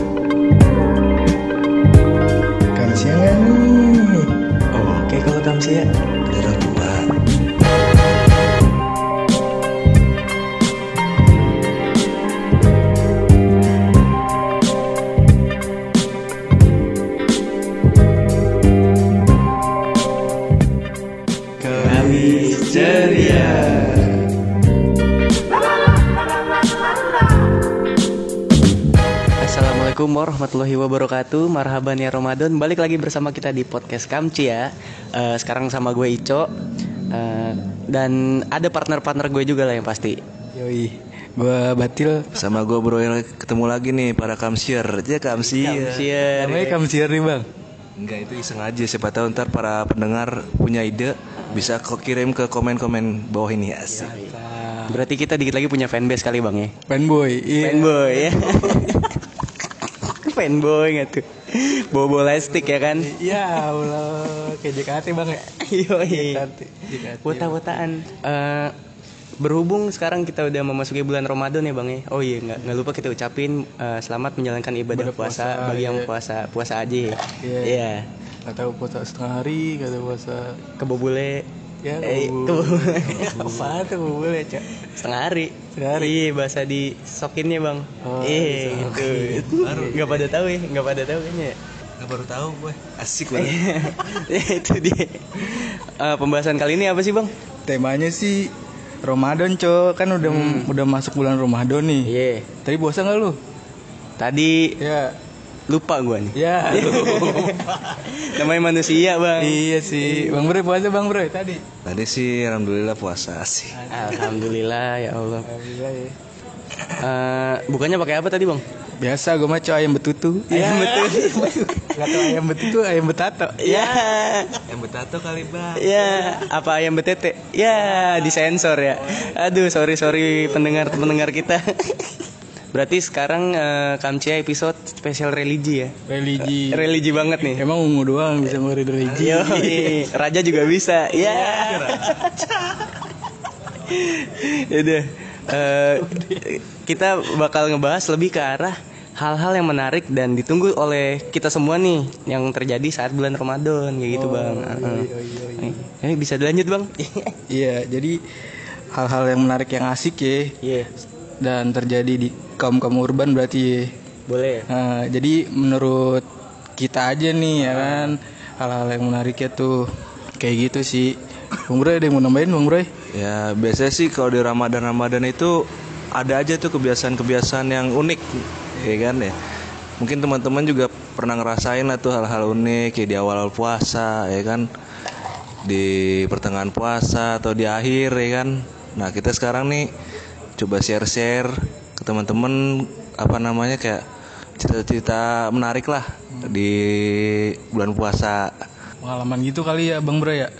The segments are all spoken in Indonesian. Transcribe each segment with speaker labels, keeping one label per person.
Speaker 1: Oh,
Speaker 2: Assalamualaikum warahmatullahi wabarakatuh Marhaban ya Ramadan Balik lagi bersama kita di podcast Kamci ya Eh, Sekarang sama gue Ico Eh, Dan ada partner-partner gue juga lah yang pasti
Speaker 1: Yoi, gue Batil
Speaker 3: Sama gue bro yang ketemu lagi nih para kamsier Ya kamsier
Speaker 2: Kamsier
Speaker 1: Namanya Kamsier nih bang
Speaker 3: Enggak itu iseng aja siapa tahu ntar para pendengar punya ide Bisa kok kirim ke komen-komen bawah ini asik
Speaker 2: Berarti kita dikit lagi punya fanbase kali bang ya
Speaker 1: Fanboy iya.
Speaker 2: Fanboy ya Fanboy nggak tuh Bobo lastik ya kan
Speaker 1: Ya Allah Kayak JKT bang ya
Speaker 2: Yoi
Speaker 1: JKT, JKT.
Speaker 2: Wota-wotaan Eh, Berhubung sekarang kita udah memasuki bulan Ramadan ya Bang ya Oh iya nggak nggak lupa kita ucapin eh, Selamat menjalankan ibadah
Speaker 1: Ibadah
Speaker 2: puasa,
Speaker 1: puasa,
Speaker 2: Bagi yang
Speaker 1: iya.
Speaker 2: puasa Puasa aja ya
Speaker 1: Iya.
Speaker 2: Iya.
Speaker 1: Gak tau puasa setengah hari Gak tau puasa
Speaker 2: Kebobole
Speaker 1: Ya
Speaker 2: Eh,
Speaker 1: kebobole.
Speaker 2: kebobole.
Speaker 1: Apaan tuh boleh cak
Speaker 2: Setengah hari
Speaker 1: Setengah hari.
Speaker 2: Iya bahasa di sokinnya Bang
Speaker 1: Oh,
Speaker 2: Iya gitu Nggak pada tahu ya Nggak pada tahu kayaknya ya.
Speaker 3: Nggak baru tahu Iya. gue Asik banget
Speaker 2: Ya, Itu dia Eh, Pembahasan kali ini apa sih Bang?
Speaker 1: Temanya sih Ramadan cok Kan udah udah masuk bulan Ramadan nih
Speaker 2: Iya
Speaker 1: Tadi puasa gak lu?
Speaker 2: Tadi
Speaker 1: Ya
Speaker 2: lupa gua nih
Speaker 1: Ya
Speaker 2: Namanya manusia Bang
Speaker 1: Iya sih Bang Bre puasa Bang Bre tadi
Speaker 3: Tadi sih Alhamdulillah puasa asik
Speaker 2: Alhamdulillah ya Allah
Speaker 1: Alhamdulillah ya
Speaker 2: Eh, bukannya pakai apa tadi bang?
Speaker 1: Biasa gue mah cok ayam betutu
Speaker 2: Ayam betutu.
Speaker 1: Gak tau ayam betutu ayam betato
Speaker 2: Ya,
Speaker 3: Yang betato kali bang
Speaker 2: ya apa ayam betete? Ya disensor ya. Aduh sorry sorry pendengar pendengar kita. Berarti sekarang eh, Kamcia episode spesial religi ya.
Speaker 1: Religi
Speaker 2: Religi banget nih.
Speaker 1: Emang ungu doang bisa ngeluarin religi
Speaker 2: Yo, Raja juga bisa. Ya. Yaudah. eh, kita bakal ngebahas lebih ke arah hal-hal yang menarik dan ditunggu oleh kita semua nih yang terjadi saat bulan Ramadan kayak gitu, Bang. Heeh. Eh, bisa dilanjut, Bang?
Speaker 1: Iya jadi hal-hal yang menarik yang asik ya
Speaker 2: Iya.
Speaker 1: Dan terjadi di kaum-kaum urban berarti ya
Speaker 2: Boleh.
Speaker 1: Nah, Jadi menurut kita aja nih ya kan Hal-hal yang menariknya tuh kayak gitu sih Bang Bro ada yang mau nambahin Bang Bro?
Speaker 3: Ya biasanya sih kalau di Ramadan-Ramadan itu ada aja tuh kebiasaan-kebiasaan yang unik ya kan ya. Mungkin teman-teman juga pernah ngerasain lah tuh hal-hal unik ya di awal-awal puasa ya kan. Di pertengahan puasa atau di akhir ya kan. Nah, kita sekarang nih coba share-share ke teman-teman apa namanya kayak cerita-cerita menarik lah di bulan puasa.
Speaker 1: Pengalaman gitu kali ya Bang Bro ya?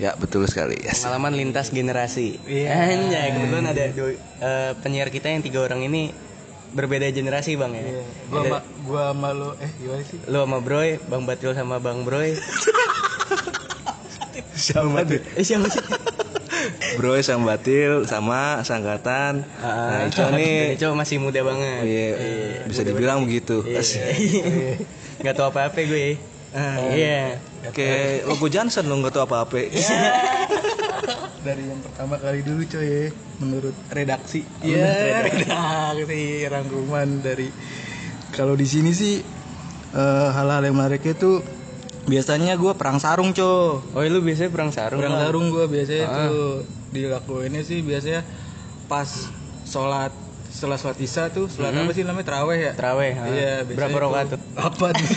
Speaker 3: Ya, betul sekali. Yes.
Speaker 2: Pengalaman lintas generasi.
Speaker 1: Iya.
Speaker 2: Anjay, kebetulan ada dua- eh, penyiar kita yang tiga orang ini berbeda generasi, Bang ya.
Speaker 1: Gua ma- gua malu eh gimana sih?
Speaker 2: lu sama Broy, Bang Batil sama Bang Broy.
Speaker 3: Sama tuh.
Speaker 2: Eh siapa sih?
Speaker 3: Bro Sang Batil sama sangkatan. nah, Ico
Speaker 2: nih,
Speaker 3: nih
Speaker 2: Ico Ah, masih muda banget.
Speaker 3: iya, bisa dibilang begitu. Asik.
Speaker 2: Gak tau apa-apa gue. Ah, Iya.
Speaker 3: Kayak logo Johnson Eh, lo nggak tau apa-apa.
Speaker 1: Dari yang pertama kali dulu coy ya, menurut redaksi. Iya, redaksi rangkuman dari kalau di sini sih eh, hal-hal yang menariknya tuh biasanya gue perang sarung coy.
Speaker 2: Oh, lu biasanya perang sarung.
Speaker 1: Perang
Speaker 2: Bang.
Speaker 1: sarung gue biasanya
Speaker 2: Ah.
Speaker 1: tuh dilakuinnya sih biasanya pas sholat setelah sholat isya tuh sholat apa sih namanya teraweh ya?
Speaker 2: Mm-hmm. Terawih. ah.
Speaker 1: Iya, biasanya
Speaker 2: Berapa
Speaker 1: tuh
Speaker 2: rokaat tuh?
Speaker 1: Apa tuh?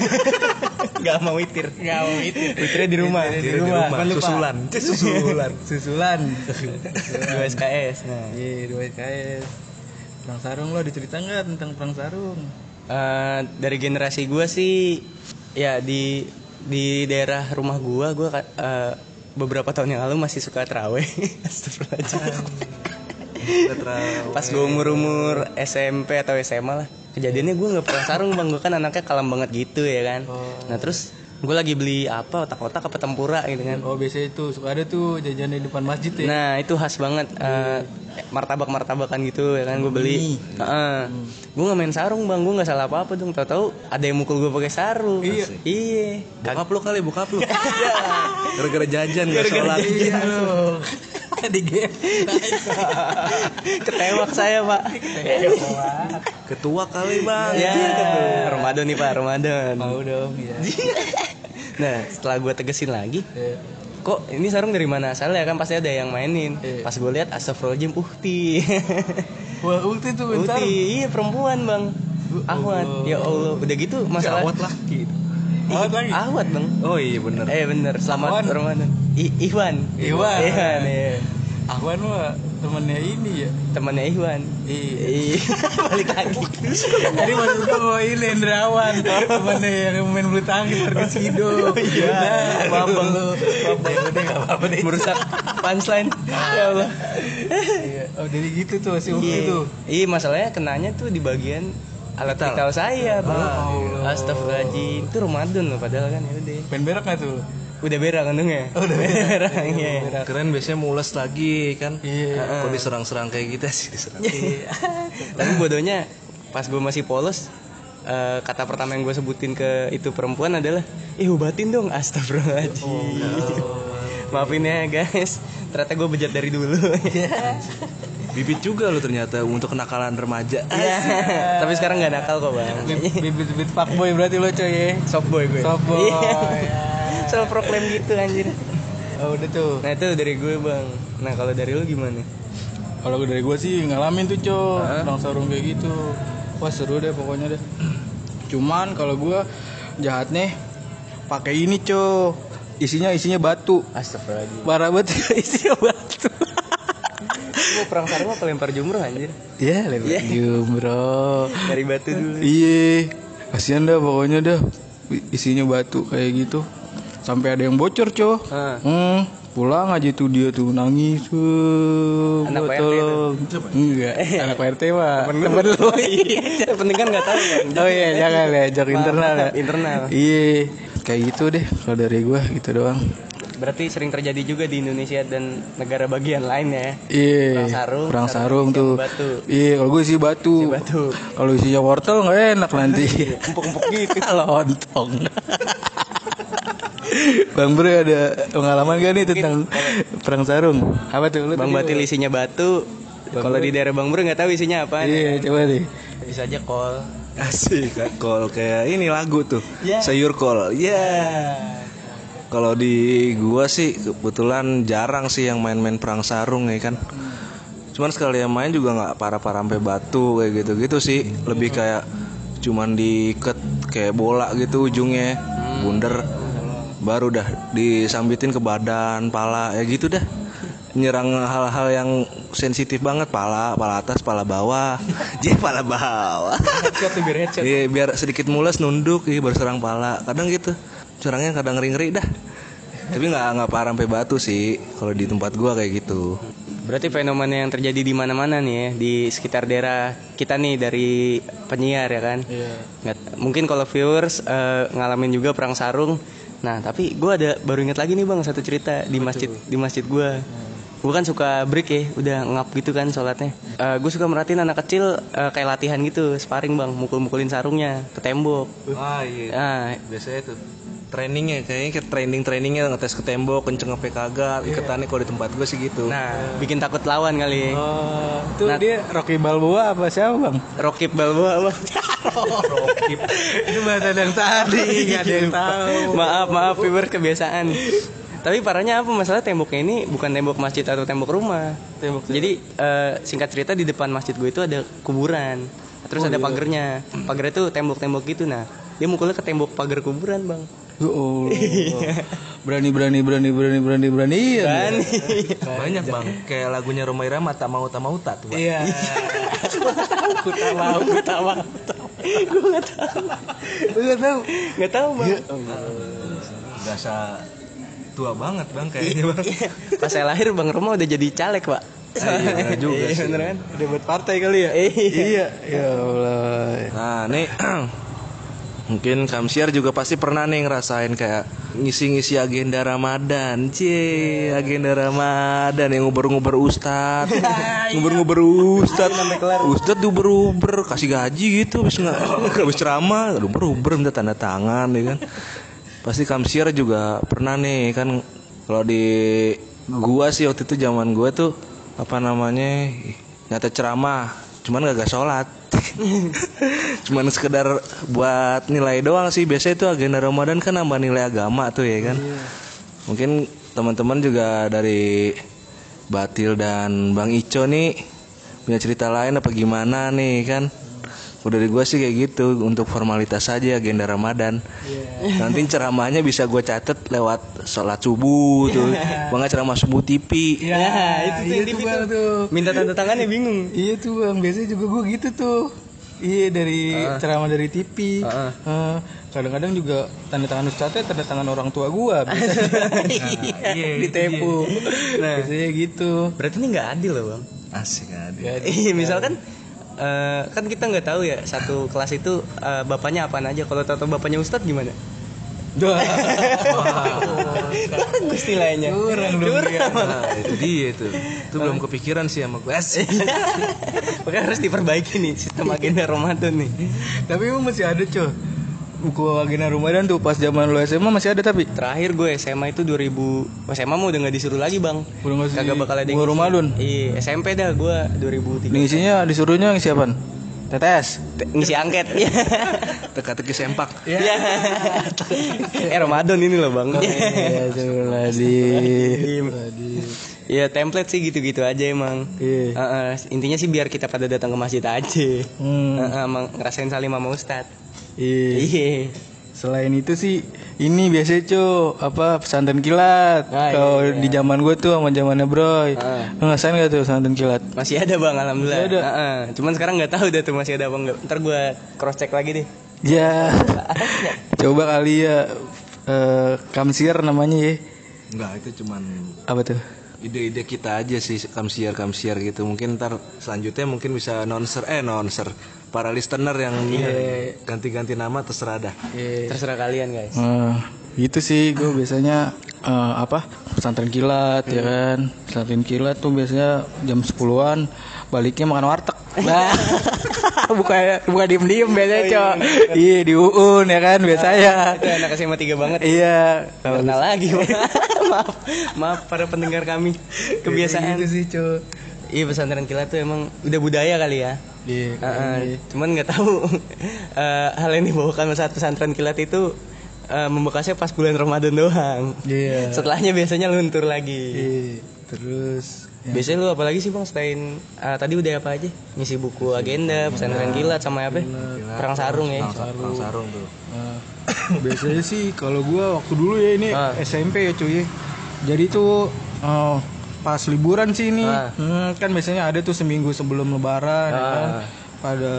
Speaker 2: Gak mau witir. Gak mau witir. Witirnya di rumah.
Speaker 1: Witirnya
Speaker 3: Di rumah,
Speaker 1: Jangan lupa.
Speaker 3: susulan.
Speaker 1: Susulan, susulan.
Speaker 2: Dua SKS. Nah.
Speaker 1: Iya, dua SKS. Perang sarung lo ada cerita nggak tentang perang sarung?
Speaker 2: Eh, dari generasi gue sih ya di di daerah rumah gue gue eh, beberapa tahun yang lalu masih suka teraweh Astagfirullahaladzim. pas gue umur umur SMP atau SMA lah kejadiannya gue nggak perang sarung bang gue kan anaknya kalem banget gitu ya kan nah terus gue lagi beli apa otak-otak apa tempura gitu kan
Speaker 1: Oh biasanya itu suka ada tuh jajan di depan masjid ya.
Speaker 2: Nah itu khas banget martabak martabakan gitu ya kan gue beli. Heeh. Gue nggak main sarung bang, gue nggak salah apa apa dong. Tahu-tahu ada yang mukul gue pakai sarung. Iya. Iya.
Speaker 3: Bokap lo kali, bokap lo. Iya. Gara-gara jajan nggak
Speaker 2: Nah,
Speaker 3: sholat.
Speaker 1: Iya loh. di game.
Speaker 2: Ketewak saya pak.
Speaker 3: Ketua kali bang.
Speaker 2: ya. Ramadan nih pak, Ramadan.
Speaker 1: Mau dong ya.
Speaker 2: Nah setelah gue tegesin lagi,
Speaker 1: Iya.
Speaker 2: kok ini sarung dari mana asalnya kan pasti ada yang mainin.
Speaker 1: Iya.
Speaker 2: Pas gue lihat Astagfirullahaladzim Uhti.
Speaker 1: Wah, ulti tuh bentar.
Speaker 2: Uhti, iya perempuan bang. Ahwat, ya Allah. Udah gitu masalah
Speaker 1: Awat lagi. Awat lagi.
Speaker 2: Ahwat dong.
Speaker 3: Oh iya bener.
Speaker 2: Eh bener, selamat
Speaker 1: Ahwan.
Speaker 2: Ramadan. I- Ihwan.
Speaker 1: Ihwan.
Speaker 2: Ihwan, iya.
Speaker 1: Ahwan kan mah temennya ini ya.
Speaker 2: Temannya Ihwan.
Speaker 1: Iya.
Speaker 2: Ih, Balik lagi.
Speaker 1: Jadi maksud gua bahwa ini Hendrawan temennya yang main bulu tangkis Nah, harga Sido.
Speaker 2: iya. Maaf, Bang.
Speaker 1: Maaf Bang. Udah nggak apa-apa deh.
Speaker 2: Merusak punchline. Ya Allah.
Speaker 1: Iya. Oh jadi gitu tuh si Upi
Speaker 2: Iya.
Speaker 1: tuh.
Speaker 2: Iya, masalahnya kenanya tuh di bagian alat
Speaker 3: Vital.
Speaker 2: vital saya, Bang.
Speaker 1: Allah.
Speaker 2: Astagfirullahaladzim. Itu Ramadan loh padahal kan ya udah.
Speaker 1: Pengen berak nggak tuh?
Speaker 2: Udah berak kan dong ya? Udah berak. Iya.
Speaker 3: Keren biasanya mules lagi kan.
Speaker 1: Iya.
Speaker 3: Kok diserang-serang kayak kita sih diserang.
Speaker 2: Iya. Tapi bodohnya pas gue masih polos eh, kata pertama yang gue sebutin ke itu perempuan adalah ih obatin dong astagfirullahaladzim maafin ya guys ternyata gue bejat dari dulu Iya.
Speaker 3: Bibit juga lo ternyata untuk kenakalan remaja.
Speaker 2: Iya. tapi sekarang nggak nakal kok bang
Speaker 1: Bibit-bibit fuckboy berarti lo coy ya.
Speaker 2: soft boy gue
Speaker 1: Soft boy.
Speaker 2: Iya. self proclaim gitu anjir
Speaker 1: Oh udah tuh.
Speaker 2: nah itu dari gue bang nah kalau dari lu gimana
Speaker 1: Kalau dari gue sih ngalamin tuh cok Perang sarung kayak gitu Wah seru deh pokoknya deh Cuman kalau gue jahat nih pakai ini cok Isinya isinya batu
Speaker 2: astagfirullahaladzim
Speaker 1: Parah banget
Speaker 2: Iya,
Speaker 1: isinya batu
Speaker 2: gue perang sarung apa lempar jumroh anjir
Speaker 1: Ya
Speaker 2: Iya.
Speaker 1: lewat bro
Speaker 2: dari batu dulu
Speaker 1: Iya Kasian dah pokoknya dah Isinya batu kayak gitu Sampai ada yang bocor cok
Speaker 2: Ah.
Speaker 1: Hmm, pulang aja tuh dia tuh nangis tuh
Speaker 2: Anak
Speaker 1: "Gua
Speaker 2: PRT itu.
Speaker 1: tolong." enggak anak PRT mah
Speaker 2: Temen lu. Iya, penting kan nggak tahu kan
Speaker 1: Oh iya jangan ya jok
Speaker 2: Maaf,
Speaker 1: internal ya.
Speaker 2: maaf, internal.
Speaker 1: Iya kayak gitu deh kalau dari gua gitu doang.
Speaker 2: Berarti sering terjadi juga di Indonesia dan negara bagian lain ya.
Speaker 1: Iya.
Speaker 2: Perang sarung,
Speaker 1: Perang
Speaker 2: sama
Speaker 1: sarung
Speaker 2: isinya
Speaker 1: tuh.
Speaker 2: batu.
Speaker 1: Iya kalau gue sih batu.
Speaker 2: Isi batu.
Speaker 1: Kalau isinya wortel nggak enak nanti. Empuk-empuk gitu. Lontong. Bang Bro ada pengalaman gak nih tentang perang sarung? Apa tuh? Lu
Speaker 2: Bang
Speaker 1: tadi-
Speaker 2: Batil isinya batu. Kalau di daerah Bang Bro nggak tahu isinya apa.
Speaker 1: Iya coba deh.
Speaker 2: Bisa aja kol.
Speaker 3: Asik kan kol kayak ini lagu tuh.
Speaker 2: Ya.
Speaker 3: Sayur kol. Ya. Kalau di gua sih kebetulan jarang sih yang main-main perang sarung ya kan. Cuman sekali yang main juga nggak parah-parah sampai batu kayak gitu-gitu sih. Lebih kayak cuman diikat kayak bola gitu ujungnya, bunder. Baru dah disambitin ke badan, pala ya gitu dah. Nyerang hal-hal yang sensitif banget, pala, pala atas, pala bawah. Jadi pala bawah.
Speaker 2: Headshot tuh biar headshot.
Speaker 3: Iya biar sedikit mules nunduk iya baru serang pala. Kadang gitu. Serangnya kadang ngeri-ngeri dah. Tapi nggak nggak parah sampai batu sih kalau di tempat gua kayak gitu.
Speaker 2: Berarti fenomena yang terjadi di mana-mana nih ya di sekitar daerah kita nih dari penyiar ya kan.
Speaker 1: Iya.
Speaker 2: Nggak- mungkin kalau viewers eh, ngalamin juga perang sarung. Nah, tapi gue ada baru inget lagi nih bang satu cerita di masjid di masjid gue. Gue kan suka break ya, udah ngap gitu kan sholatnya. gue suka merhatiin anak kecil eh, kayak latihan gitu, sparring bang, mukul-mukulin sarungnya ke tembok.
Speaker 3: Ah iya.
Speaker 2: Nah,
Speaker 3: Biasanya tuh trainingnya kayaknya ke training trainingnya ngetes ke tembok kenceng apa kagak iketannya kalau di tempat gue sih gitu
Speaker 2: nah bikin takut lawan kali. ya.
Speaker 1: Oh, tuh dia Rocky Balboa apa siapa bang?
Speaker 2: Rocky Balboa bang.
Speaker 1: Itu bahasa yang tadi nggak ada yang tahu.
Speaker 2: maaf maaf viewers kebiasaan. Tapi parahnya apa masalah temboknya ini bukan tembok masjid atau tembok rumah.
Speaker 1: Tembok
Speaker 2: Jadi eh, singkat cerita di depan masjid gue itu ada kuburan. Terus ada pagernya. Pagernya tuh tembok-tembok gitu nah. Dia mukulnya ke tembok pagar kuburan, Bang.
Speaker 1: Ya Allah. Berani berani berani berani berani berani. Iya.
Speaker 2: Dan
Speaker 3: banyak bang kayak lagunya Roma Irama tak mau tak mau tak tuh Bang.
Speaker 1: Iya.
Speaker 2: tahu gue tahu. Gue enggak tahu.
Speaker 1: Iya. Lu nggak tahu.
Speaker 2: Enggak tahu, Bang.
Speaker 3: berasa tua banget bang kayaknya bang
Speaker 2: Pas saya lahir Bang Roma udah jadi caleg, Pak.
Speaker 3: Ah, iya, bener juga
Speaker 2: Iya,
Speaker 3: sih.
Speaker 2: bener kan?
Speaker 1: Udah buat partai kali ya? Iya. Ya Allah.
Speaker 3: Nah, nih mungkin Kamsiar juga pasti pernah nih ngerasain kayak ngisi-ngisi agenda Ramadan. Cie, agenda Ramadan yang nguber-nguber ustad. nguber-nguber ustad. Ustad uber-uber kasih gaji gitu habis nggak habis ceramah, uber-uber minta tanda tangan ya kan. Pasti Kamsiar juga pernah nih kan kalau di gua sih waktu itu zaman gua tuh apa namanya nyata ceramah cuman gak sholat cuman sekedar buat nilai doang sih biasanya itu agenda Ramadan kan nambah nilai agama tuh ya kan mungkin teman-teman juga dari Batil dan Bang Ico nih punya cerita lain apa gimana nih kan Udah dari gue sih kayak gitu untuk formalitas saja agenda Ramadan. Nanti ceramahnya bisa gue catet lewat sholat subuh tuh. Banget ceramah subuh
Speaker 2: Ya, itu tuh
Speaker 3: TV.
Speaker 1: iya
Speaker 2: yang
Speaker 1: tuh,
Speaker 2: tipikal.
Speaker 1: Bang, tuh.
Speaker 2: Minta tanda tangannya bingung.
Speaker 1: Iya tuh bang, biasanya juga gue gitu tuh. Iya dari
Speaker 3: Ah.
Speaker 1: ceramah dari TV.
Speaker 2: Ah.
Speaker 1: Eh, Kadang-kadang juga tanda tangan ustadznya tanda tangan orang tua gue. Iya, ditepu.
Speaker 2: Nah.
Speaker 1: Biasanya gitu.
Speaker 2: Berarti ini nggak adil loh bang.
Speaker 3: Asik ada.
Speaker 1: Ya,
Speaker 2: Iya, misalkan eh, kan kita nggak tahu ya satu kelas itu eh, bapaknya apaan aja. Kalau tahu bapaknya Ustadz gimana?
Speaker 1: Duh.
Speaker 2: Bagus nilainya.
Speaker 1: Curang dong dia.
Speaker 3: Nah, itu dia itu. Itu belum kepikiran sih sama gue. Asik.
Speaker 2: Makanya harus diperbaiki nih sistem agenda Ramadan nih.
Speaker 1: Tapi emang masih ada cuy. Buku agenda Ramadan tuh pas zaman lu SMA masih ada tapi
Speaker 2: Terakhir gue SMA itu oh, 2000 SMA mau udah nggak disuruh lagi bang.
Speaker 1: Udah nggak sih,
Speaker 2: Kagak bakal ada yang
Speaker 1: gua
Speaker 2: ngisi.
Speaker 1: Ramadan.
Speaker 2: Iya SMP dah gue 2003.
Speaker 1: isinya disuruhnya yang siapaan? Tetes.
Speaker 2: Te- Ngisi angket. Iya.
Speaker 3: Teka-teki sempak.
Speaker 2: Iya. eh Ramadan ini loh bang.
Speaker 1: Iya, Astagfirullahaladzim.
Speaker 2: Iya template sih gitu-gitu aja emang.
Speaker 1: Iya.
Speaker 2: Heeh, intinya sih biar kita pada datang ke masjid aja.
Speaker 1: Hmm.
Speaker 2: Heeh, emang ngerasain salim sama ustad.
Speaker 1: Iya.
Speaker 2: Iya.
Speaker 1: Selain itu sih ini biasanya cu apa pesantren kilat.
Speaker 2: Ah,
Speaker 1: Kalau di zaman gue tuh sama zamannya Broy.
Speaker 2: Ah.
Speaker 1: Lu Ngasain gak tuh pesantren kilat?
Speaker 2: Masih ada bang, alhamdulillah.
Speaker 1: Masih ada.
Speaker 2: Heeh, Cuman sekarang nggak tahu dah tuh masih ada apa nggak. Ntar gue cross check lagi deh.
Speaker 1: Ya. Coba kali ya eh kamsir namanya ya.
Speaker 3: Enggak, itu cuman
Speaker 1: Apa tuh?
Speaker 3: ide-ide kita aja sih kamsiar kamsiar gitu mungkin ntar selanjutnya mungkin bisa nonser eh nonser para listener yang ganti-ganti nama terserah dah
Speaker 1: Iya.
Speaker 2: Terserah kalian guys.
Speaker 1: Eh, gitu sih gue biasanya eh, apa pesantren kilat ya kan pesantren kilat tuh biasanya jam 10-an baliknya makan warteg nah buka buka diem diem biasanya cok iya di uun ya kan biasanya
Speaker 2: Itu anak SMA 3 banget.
Speaker 1: iya
Speaker 2: Kenal lagi Bang. maaf maaf para pendengar kami kebiasaan
Speaker 1: Gitu sih cok
Speaker 2: iya pesantren kilat tuh emang udah budaya kali ya
Speaker 1: iya
Speaker 2: Heeh, cuman nggak tahu eh, hal yang dibawakan saat pesantren kilat itu eh, membekasnya pas bulan Ramadan doang
Speaker 1: iya
Speaker 2: setelahnya biasanya luntur lagi
Speaker 1: Iya. terus
Speaker 2: biasanya lu apalagi sih bang selain eh, tadi udah apa aja ngisi buku agenda pesantren kilat sama apa ya? perang sarung ya
Speaker 3: sarung. sarung tuh
Speaker 1: Nah, biasanya sih kalau gua waktu dulu ya ini
Speaker 2: Ah.
Speaker 1: SMP ya cuy. Jadi tuh eh, pas liburan sih ini
Speaker 2: Ah.
Speaker 1: Hmm, kan biasanya ada tuh seminggu sebelum lebaran ya kan
Speaker 2: Ah.
Speaker 1: pada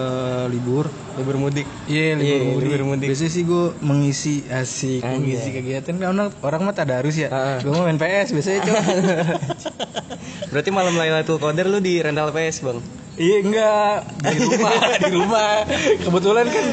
Speaker 1: libur.
Speaker 2: libur mudik
Speaker 1: Iya, libur,
Speaker 2: Iya,
Speaker 1: mudik.
Speaker 2: libur mudik.
Speaker 1: Biasanya sih gue mengisi asik,
Speaker 2: Anjay.
Speaker 1: mengisi kegiatan kan orang, orang mah tadarus ya.
Speaker 2: Ah.
Speaker 1: Gue main PS biasanya cuy.
Speaker 2: berarti malam Lailatul Qadar lu di rental PS bang
Speaker 1: Iya enggak di rumah di rumah kebetulan kan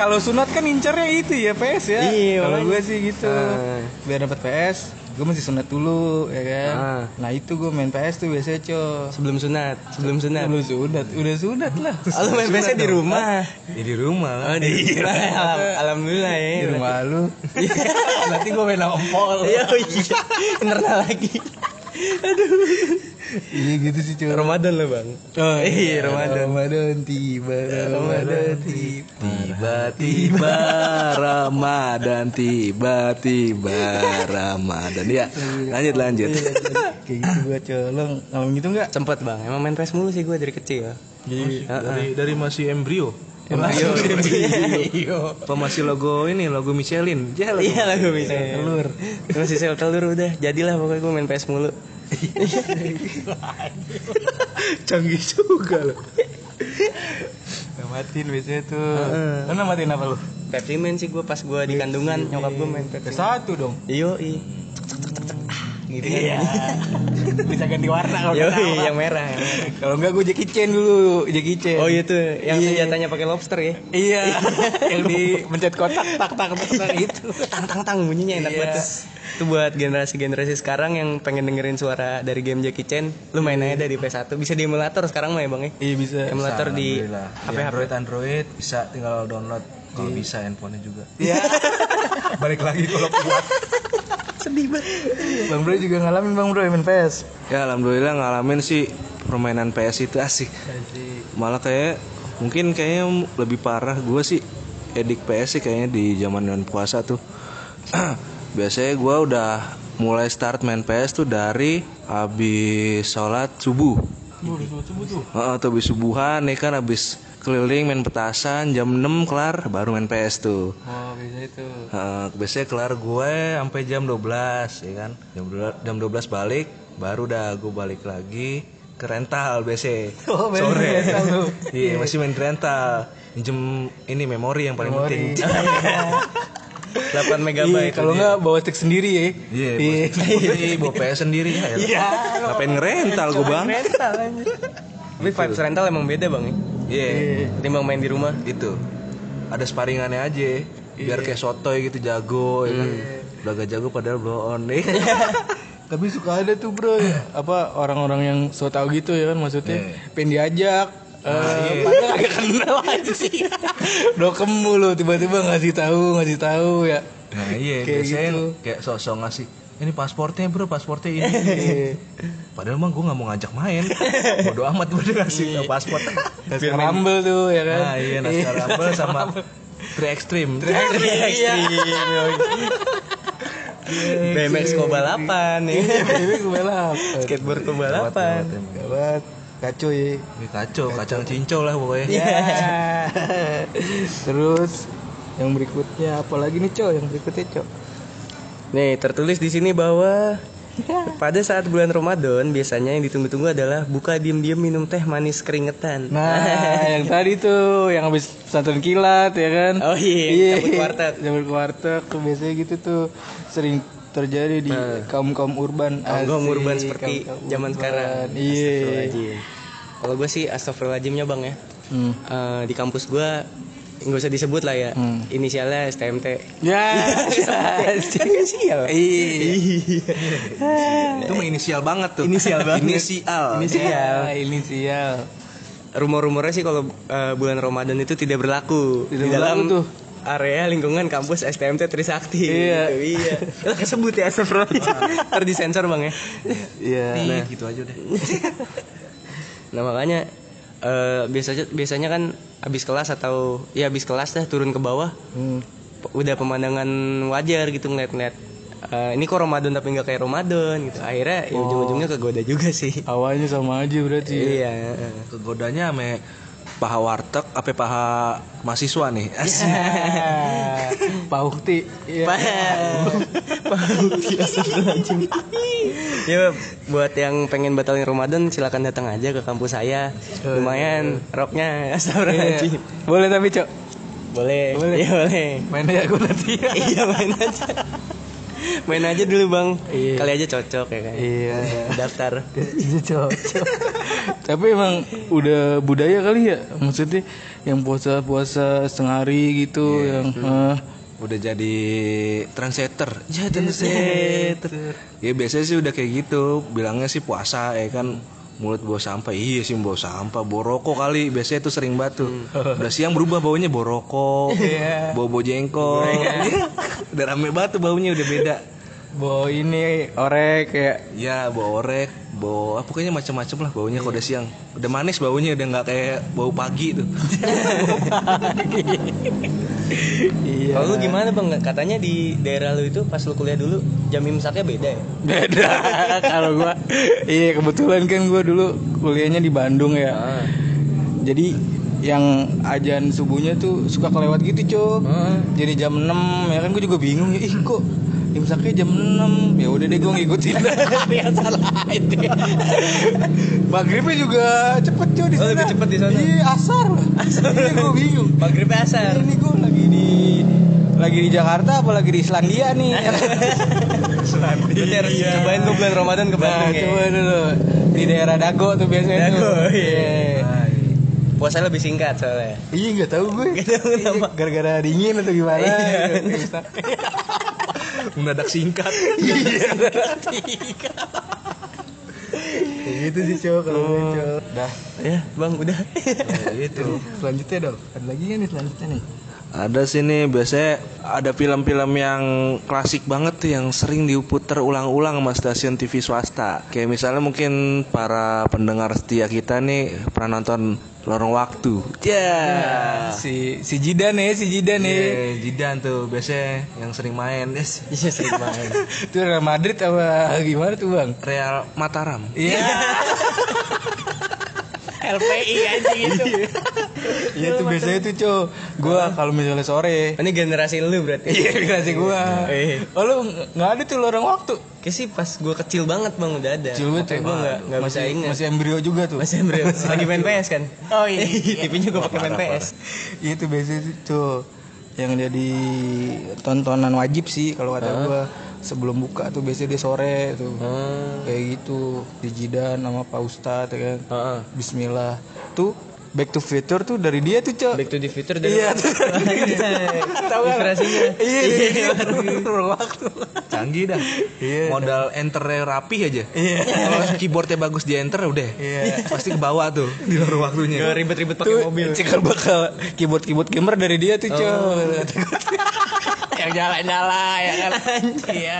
Speaker 1: kalau sunat kan incarnya itu ya PS ya
Speaker 2: Iya,
Speaker 1: kalau
Speaker 2: makanya.
Speaker 1: gue sih gitu
Speaker 2: Ah.
Speaker 1: biar dapat PS gue mesti sunat dulu ya kan
Speaker 2: Ah.
Speaker 1: nah itu gue main PS tuh biasanya cow
Speaker 2: sebelum sunat sebelum sunat
Speaker 1: udah sunat udah sunat lah
Speaker 2: Oh, lu main PS di rumah.
Speaker 3: ya, di rumah lah.
Speaker 2: Oh, di rumah. Alham- Alhamdulillah ya.
Speaker 1: di rumah lu nanti gue main ompol
Speaker 2: Iya, oh iya. Internal lagi.
Speaker 1: iya gitu sih cow
Speaker 2: Ramadan loh, Bang.
Speaker 1: Oh,
Speaker 2: iya, Ramadan.
Speaker 1: Ramadan tiba Ramadan tiba
Speaker 3: tiba-tiba Ramadan tiba-tiba Ramadan ya lanjut lanjut
Speaker 1: kayak gitu gue cow lo ngalamin gitu nggak
Speaker 2: Sempet, Bang. Emang main PS mulu sih gue dari kecil.
Speaker 3: dari dari masih embrio
Speaker 2: Embryo. Embryo.
Speaker 3: apa masih logo ini logo Michelin ya logo.
Speaker 2: Iya lah gue bisa telur. Terus sisel telur udah. Jadilah pokoknya gue main PS mulu.
Speaker 1: canggih juga lo namatin biasanya tuh lo namatin apa lo
Speaker 2: Pepsi Man sih gue pas gue di kandungan nyokap gue main Pepsi.
Speaker 1: satu dong
Speaker 2: Iyo, i. Cek, cek, cek, cek, cek. Ah, Gitu. Iya.
Speaker 1: bisa ganti warna kalau
Speaker 2: Yo,
Speaker 1: nggak tahu.
Speaker 2: yang merah. yang merah.
Speaker 1: kalau enggak gue Jackie Chan dulu Jackie Chan
Speaker 2: Oh iya tuh, yang
Speaker 1: Iya.
Speaker 2: senjatanya pakai lobster ya.
Speaker 1: iya yang di mencet kotak tak tak tak, tak gitu. itu
Speaker 2: tang tang tang bunyinya enak
Speaker 1: Iya.
Speaker 2: banget tuh. itu buat generasi generasi sekarang yang pengen dengerin suara dari game Jackie Chan lu main aja dari PS1 bisa di emulator sekarang mah ya bang ya
Speaker 1: iya bisa
Speaker 2: emulator di HP HP
Speaker 3: Android Android bisa tinggal download Iya. kalau bisa handphonenya juga
Speaker 1: iya
Speaker 3: balik lagi kalau kuat
Speaker 2: sedih banget
Speaker 1: Bang Bro juga ngalamin Bang Bro main PS
Speaker 3: ya alhamdulillah ngalamin sih permainan PS itu asik
Speaker 1: Iya
Speaker 3: malah kayak mungkin kayaknya lebih parah gue sih edik PS sih kayaknya di zaman dan puasa tuh biasanya gue udah mulai start main PS tuh dari habis sholat subuh
Speaker 1: Bro, coba tuh
Speaker 3: Heeh, tuh habis subuhan ya kan habis keliling main petasan jam 6 kelar baru main PS tuh
Speaker 1: Oh biasa itu.
Speaker 3: Eh, biasanya kelar gue sampai jam 12 ya kan jam 12, jam 12 balik baru dah gue balik lagi ke rental biasanya
Speaker 1: Oh, main rental lu.
Speaker 3: iya masih main rental minjem ini memori yang paling penting
Speaker 1: Iya,
Speaker 2: 8 megabyte.
Speaker 1: kalau nggak bawa stick sendiri ya.
Speaker 3: iya bos. Iya, bawa PS sendiri ya
Speaker 1: Iya.
Speaker 3: ngapain ngerental gue bang
Speaker 2: rental aja. Tapi vibes rental emang beda bang ya.
Speaker 3: iya
Speaker 2: Ketimbang main di rumah.
Speaker 3: itu ada sparingannya aja
Speaker 1: Iya.
Speaker 3: biar kayak sotoy gitu jago ya kan udah gak jago padahal blow on nih
Speaker 1: Tapi suka ada tuh bro apa orang-orang yang so tau gitu ya kan maksudnya pengen diajak Eh, padahal agak kenal aja sih. Dokem mulu tiba-tiba ngasih tahu, ngasih tahu ya.
Speaker 3: Nah iya
Speaker 1: Kayak
Speaker 3: biasanya
Speaker 1: gitu.
Speaker 3: kayak sosok ngasih ini pasportnya bro pasportnya ini. Padahal mah gue nggak mau ngajak main. Bodoh amat gue ngasih pasport.
Speaker 1: Naskah Rumble tuh ya kan.
Speaker 3: Nah iya naskah Rumble sama Tri Extreme.
Speaker 2: BMX Koba 8 ya.
Speaker 1: Ini gue balap.
Speaker 2: Skateboard Koba
Speaker 3: Gawat,
Speaker 2: 8.
Speaker 3: gawat emang.
Speaker 1: Gawat, kacau ya.
Speaker 3: Ini kacau, kacang cincau lah pokoknya.
Speaker 1: Ya. Terus yang berikutnya apalagi nih Cok? Yang berikutnya Cok.
Speaker 2: Nih, tertulis di sini bahwa
Speaker 1: Iya.
Speaker 2: pada saat bulan Ramadan biasanya yang ditunggu-tunggu adalah buka diem-diem minum teh manis keringetan.
Speaker 1: Nah, yang tadi tuh yang habis pesantren kilat ya kan.
Speaker 2: Oh
Speaker 1: Iya.
Speaker 2: iya, cabut warteg.
Speaker 1: Jamur kuartek tuh biasanya gitu tuh sering terjadi di kaum-kaum urban.
Speaker 2: Nah. Kaum-kaum
Speaker 1: Asik,
Speaker 2: urban seperti
Speaker 1: kaum-kaum
Speaker 2: zaman
Speaker 1: urban.
Speaker 2: sekarang.
Speaker 1: Iya.
Speaker 2: Astagfirullahaladzim. Kalau gue sih astagfirullahaladzimnya bang ya.
Speaker 1: Hmm.
Speaker 2: Eh, di kampus gue nggak usah disebut lah ya.
Speaker 1: Hmm.
Speaker 2: Inisialnya STMT.
Speaker 1: Ya.
Speaker 2: Jangan sial. Iya.
Speaker 3: Itu mah inisial banget tuh.
Speaker 2: Inisial banget.
Speaker 3: Inisial.
Speaker 1: Inisial. Inisial.
Speaker 2: Rumor-rumornya sih kalau eh, bulan Ramadan itu tidak berlaku
Speaker 1: Tidak
Speaker 2: di
Speaker 1: berlaku
Speaker 2: dalam
Speaker 1: tuh.
Speaker 2: area lingkungan kampus STMT Trisakti.
Speaker 1: Iya.
Speaker 2: Gitu, iya. Lah kesebut ya astagfirullahaladzim. Ntar disensor bang ya.
Speaker 1: Iya.
Speaker 3: Nih, gitu aja deh.
Speaker 2: Nah makanya eh, biasanya biasanya kan habis kelas atau ya habis kelas dah turun ke bawah
Speaker 1: Hmm.
Speaker 2: pe- udah pemandangan wajar gitu ngeliat-ngeliat eh, ini kok Ramadan tapi nggak kayak Ramadan gitu akhirnya ya ujung-ujungnya kegoda juga sih
Speaker 1: Awalnya sama aja berarti. ya.
Speaker 2: iya
Speaker 3: Kegodanya ame paha warteg, apa paha mahasiswa nih? Asik.
Speaker 1: Ah, Pak Ukti. Iya.
Speaker 2: ya buat yang pengen batalin Ramadan silakan datang aja ke kampus saya
Speaker 1: Oh,
Speaker 2: lumayan
Speaker 1: iya.
Speaker 2: roknya astagfirullahaladzim
Speaker 1: Boleh tapi Cok.
Speaker 2: boleh
Speaker 1: Boleh.
Speaker 2: iya boleh
Speaker 1: Mainnya aku nanti.
Speaker 2: iya main aja main aja dulu bang
Speaker 1: Iya.
Speaker 2: kali aja cocok ya kan
Speaker 1: Iya.
Speaker 2: daftar
Speaker 1: Iya cocok. Tapi emang udah budaya kali ya, maksudnya yang puasa-puasa setengah hari gitu,
Speaker 2: Iya.
Speaker 1: yang
Speaker 2: Hmm.
Speaker 1: eh,
Speaker 3: udah jadi translator ya translator ya biasanya sih udah kayak gitu bilangnya sih puasa ya kan mulut bau sampah iya sih bau sampah bau rokok kali biasanya itu sering batu udah siang berubah baunya bau rokok bau bau jengkol udah rame batu baunya udah beda
Speaker 1: bawa ini orek kayak
Speaker 3: ya bau orek bau ah, pokoknya macam-macam lah baunya kalau udah siang udah manis baunya udah nggak kayak bau pagi tuh
Speaker 1: iya.
Speaker 2: kalau Oh, lu gimana bang katanya di daerah lu itu pas lu kuliah dulu jam imsaknya beda ya
Speaker 1: Beda kalau gua. Iya, kebetulan kan gua dulu kuliahnya di Bandung ya.
Speaker 2: Ah.
Speaker 1: Jadi yang ajan subuhnya tuh suka kelewat gitu, Cok.
Speaker 2: Ah.
Speaker 1: Jadi jam 6 ya kan gua juga bingung ya, ih kok imsaknya jam 6. Ya udah deh gua ngikutin. Yang salah itu. Maghribnya juga cepet, Cok, di
Speaker 2: Oh,
Speaker 1: sana.
Speaker 2: lebih cepet di sana.
Speaker 1: Iya, asar. Asar. Iya, gua bingung.
Speaker 2: maghrib asar
Speaker 1: Ini gua lagi di lagi di Jakarta apa lagi di Islandia nih. ya kan?
Speaker 2: berarti harus cobain tuh bulan Ramadan ke
Speaker 1: Iya. Nah,
Speaker 2: Bandung ya
Speaker 1: coba dulu di daerah Dago tuh biasanya.
Speaker 2: Dago,
Speaker 1: tuh.
Speaker 2: iya.
Speaker 1: Iya.
Speaker 2: puasa lebih singkat soalnya
Speaker 1: Iya nggak tahu gue. Iya, Gara-gara dingin atau gimana? gitu.
Speaker 3: mendadak singkat
Speaker 1: Kayak gitu sih cowok kalau gue cowok. Dah.
Speaker 2: ya bang udah
Speaker 3: Ya, gitu
Speaker 1: Selanjutnya dong. Ada lagi nggak nih selanjutnya nih?
Speaker 3: Ada sini biasanya ada film-film yang klasik banget tuh yang sering diputer ulang-ulang sama stasiun TV swasta. Kayak misalnya mungkin para pendengar setia kita nih pernah nonton Lorong Waktu. Ya.
Speaker 1: Ah. Si si Jidan ya, si Jidan ya.
Speaker 3: Iya, Jidan tuh biasanya yang sering main, yes.
Speaker 2: iya sering main
Speaker 1: Itu Real Madrid apa Ah, gimana tuh bang?
Speaker 3: Real Mataram.
Speaker 1: Iya.
Speaker 2: LPI aja gitu
Speaker 1: Iya tuh biasanya tuh cow Gue kalau misalnya sore
Speaker 2: Ini generasi lu berarti.
Speaker 1: Iya generasi gue
Speaker 2: Eh.
Speaker 1: Oh lu gak ada tuh lorong waktu
Speaker 2: Kayak sih pas gue kecil banget bang udah ada.
Speaker 1: Kecil banget ya?
Speaker 2: Gue nggak nggak bisa
Speaker 1: Masih-
Speaker 2: ingat.
Speaker 1: Masih embrio juga tuh
Speaker 2: Masih embryo. Lagi main PS kan? Oh iya. TV-nya gue pakai main PS.
Speaker 1: Iya tuh biasanya tuh cow Yang jadi tontonan wajib sih kalau kata gue Sebelum buka tuh biasanya dia sore tuh
Speaker 2: Hmm.
Speaker 1: Kayak gitu Dijidan sama Pak Ustadz ya kan
Speaker 2: Heeh.
Speaker 1: Bismillah Tuh Back to Future tuh dari dia tuh cow
Speaker 2: Back to the future dari
Speaker 1: Iya tuh
Speaker 2: Iya. Tahu nggak? Inspirasinya.
Speaker 1: Iya iya, iya Lorong waktu
Speaker 3: Canggih dah.
Speaker 1: Iya.
Speaker 3: Modal enter rapi aja.
Speaker 1: Iya.
Speaker 3: Kalau keyboardnya bagus di enter udah.
Speaker 1: Iya.
Speaker 3: Pasti ke bawah tuh di luar waktunya.
Speaker 2: Gak ribet-ribet pakai
Speaker 1: tuh
Speaker 2: mobil.
Speaker 1: cikal bakal keyboard keyboard gamer dari dia tuh coy yang nyala nyala ya kan iya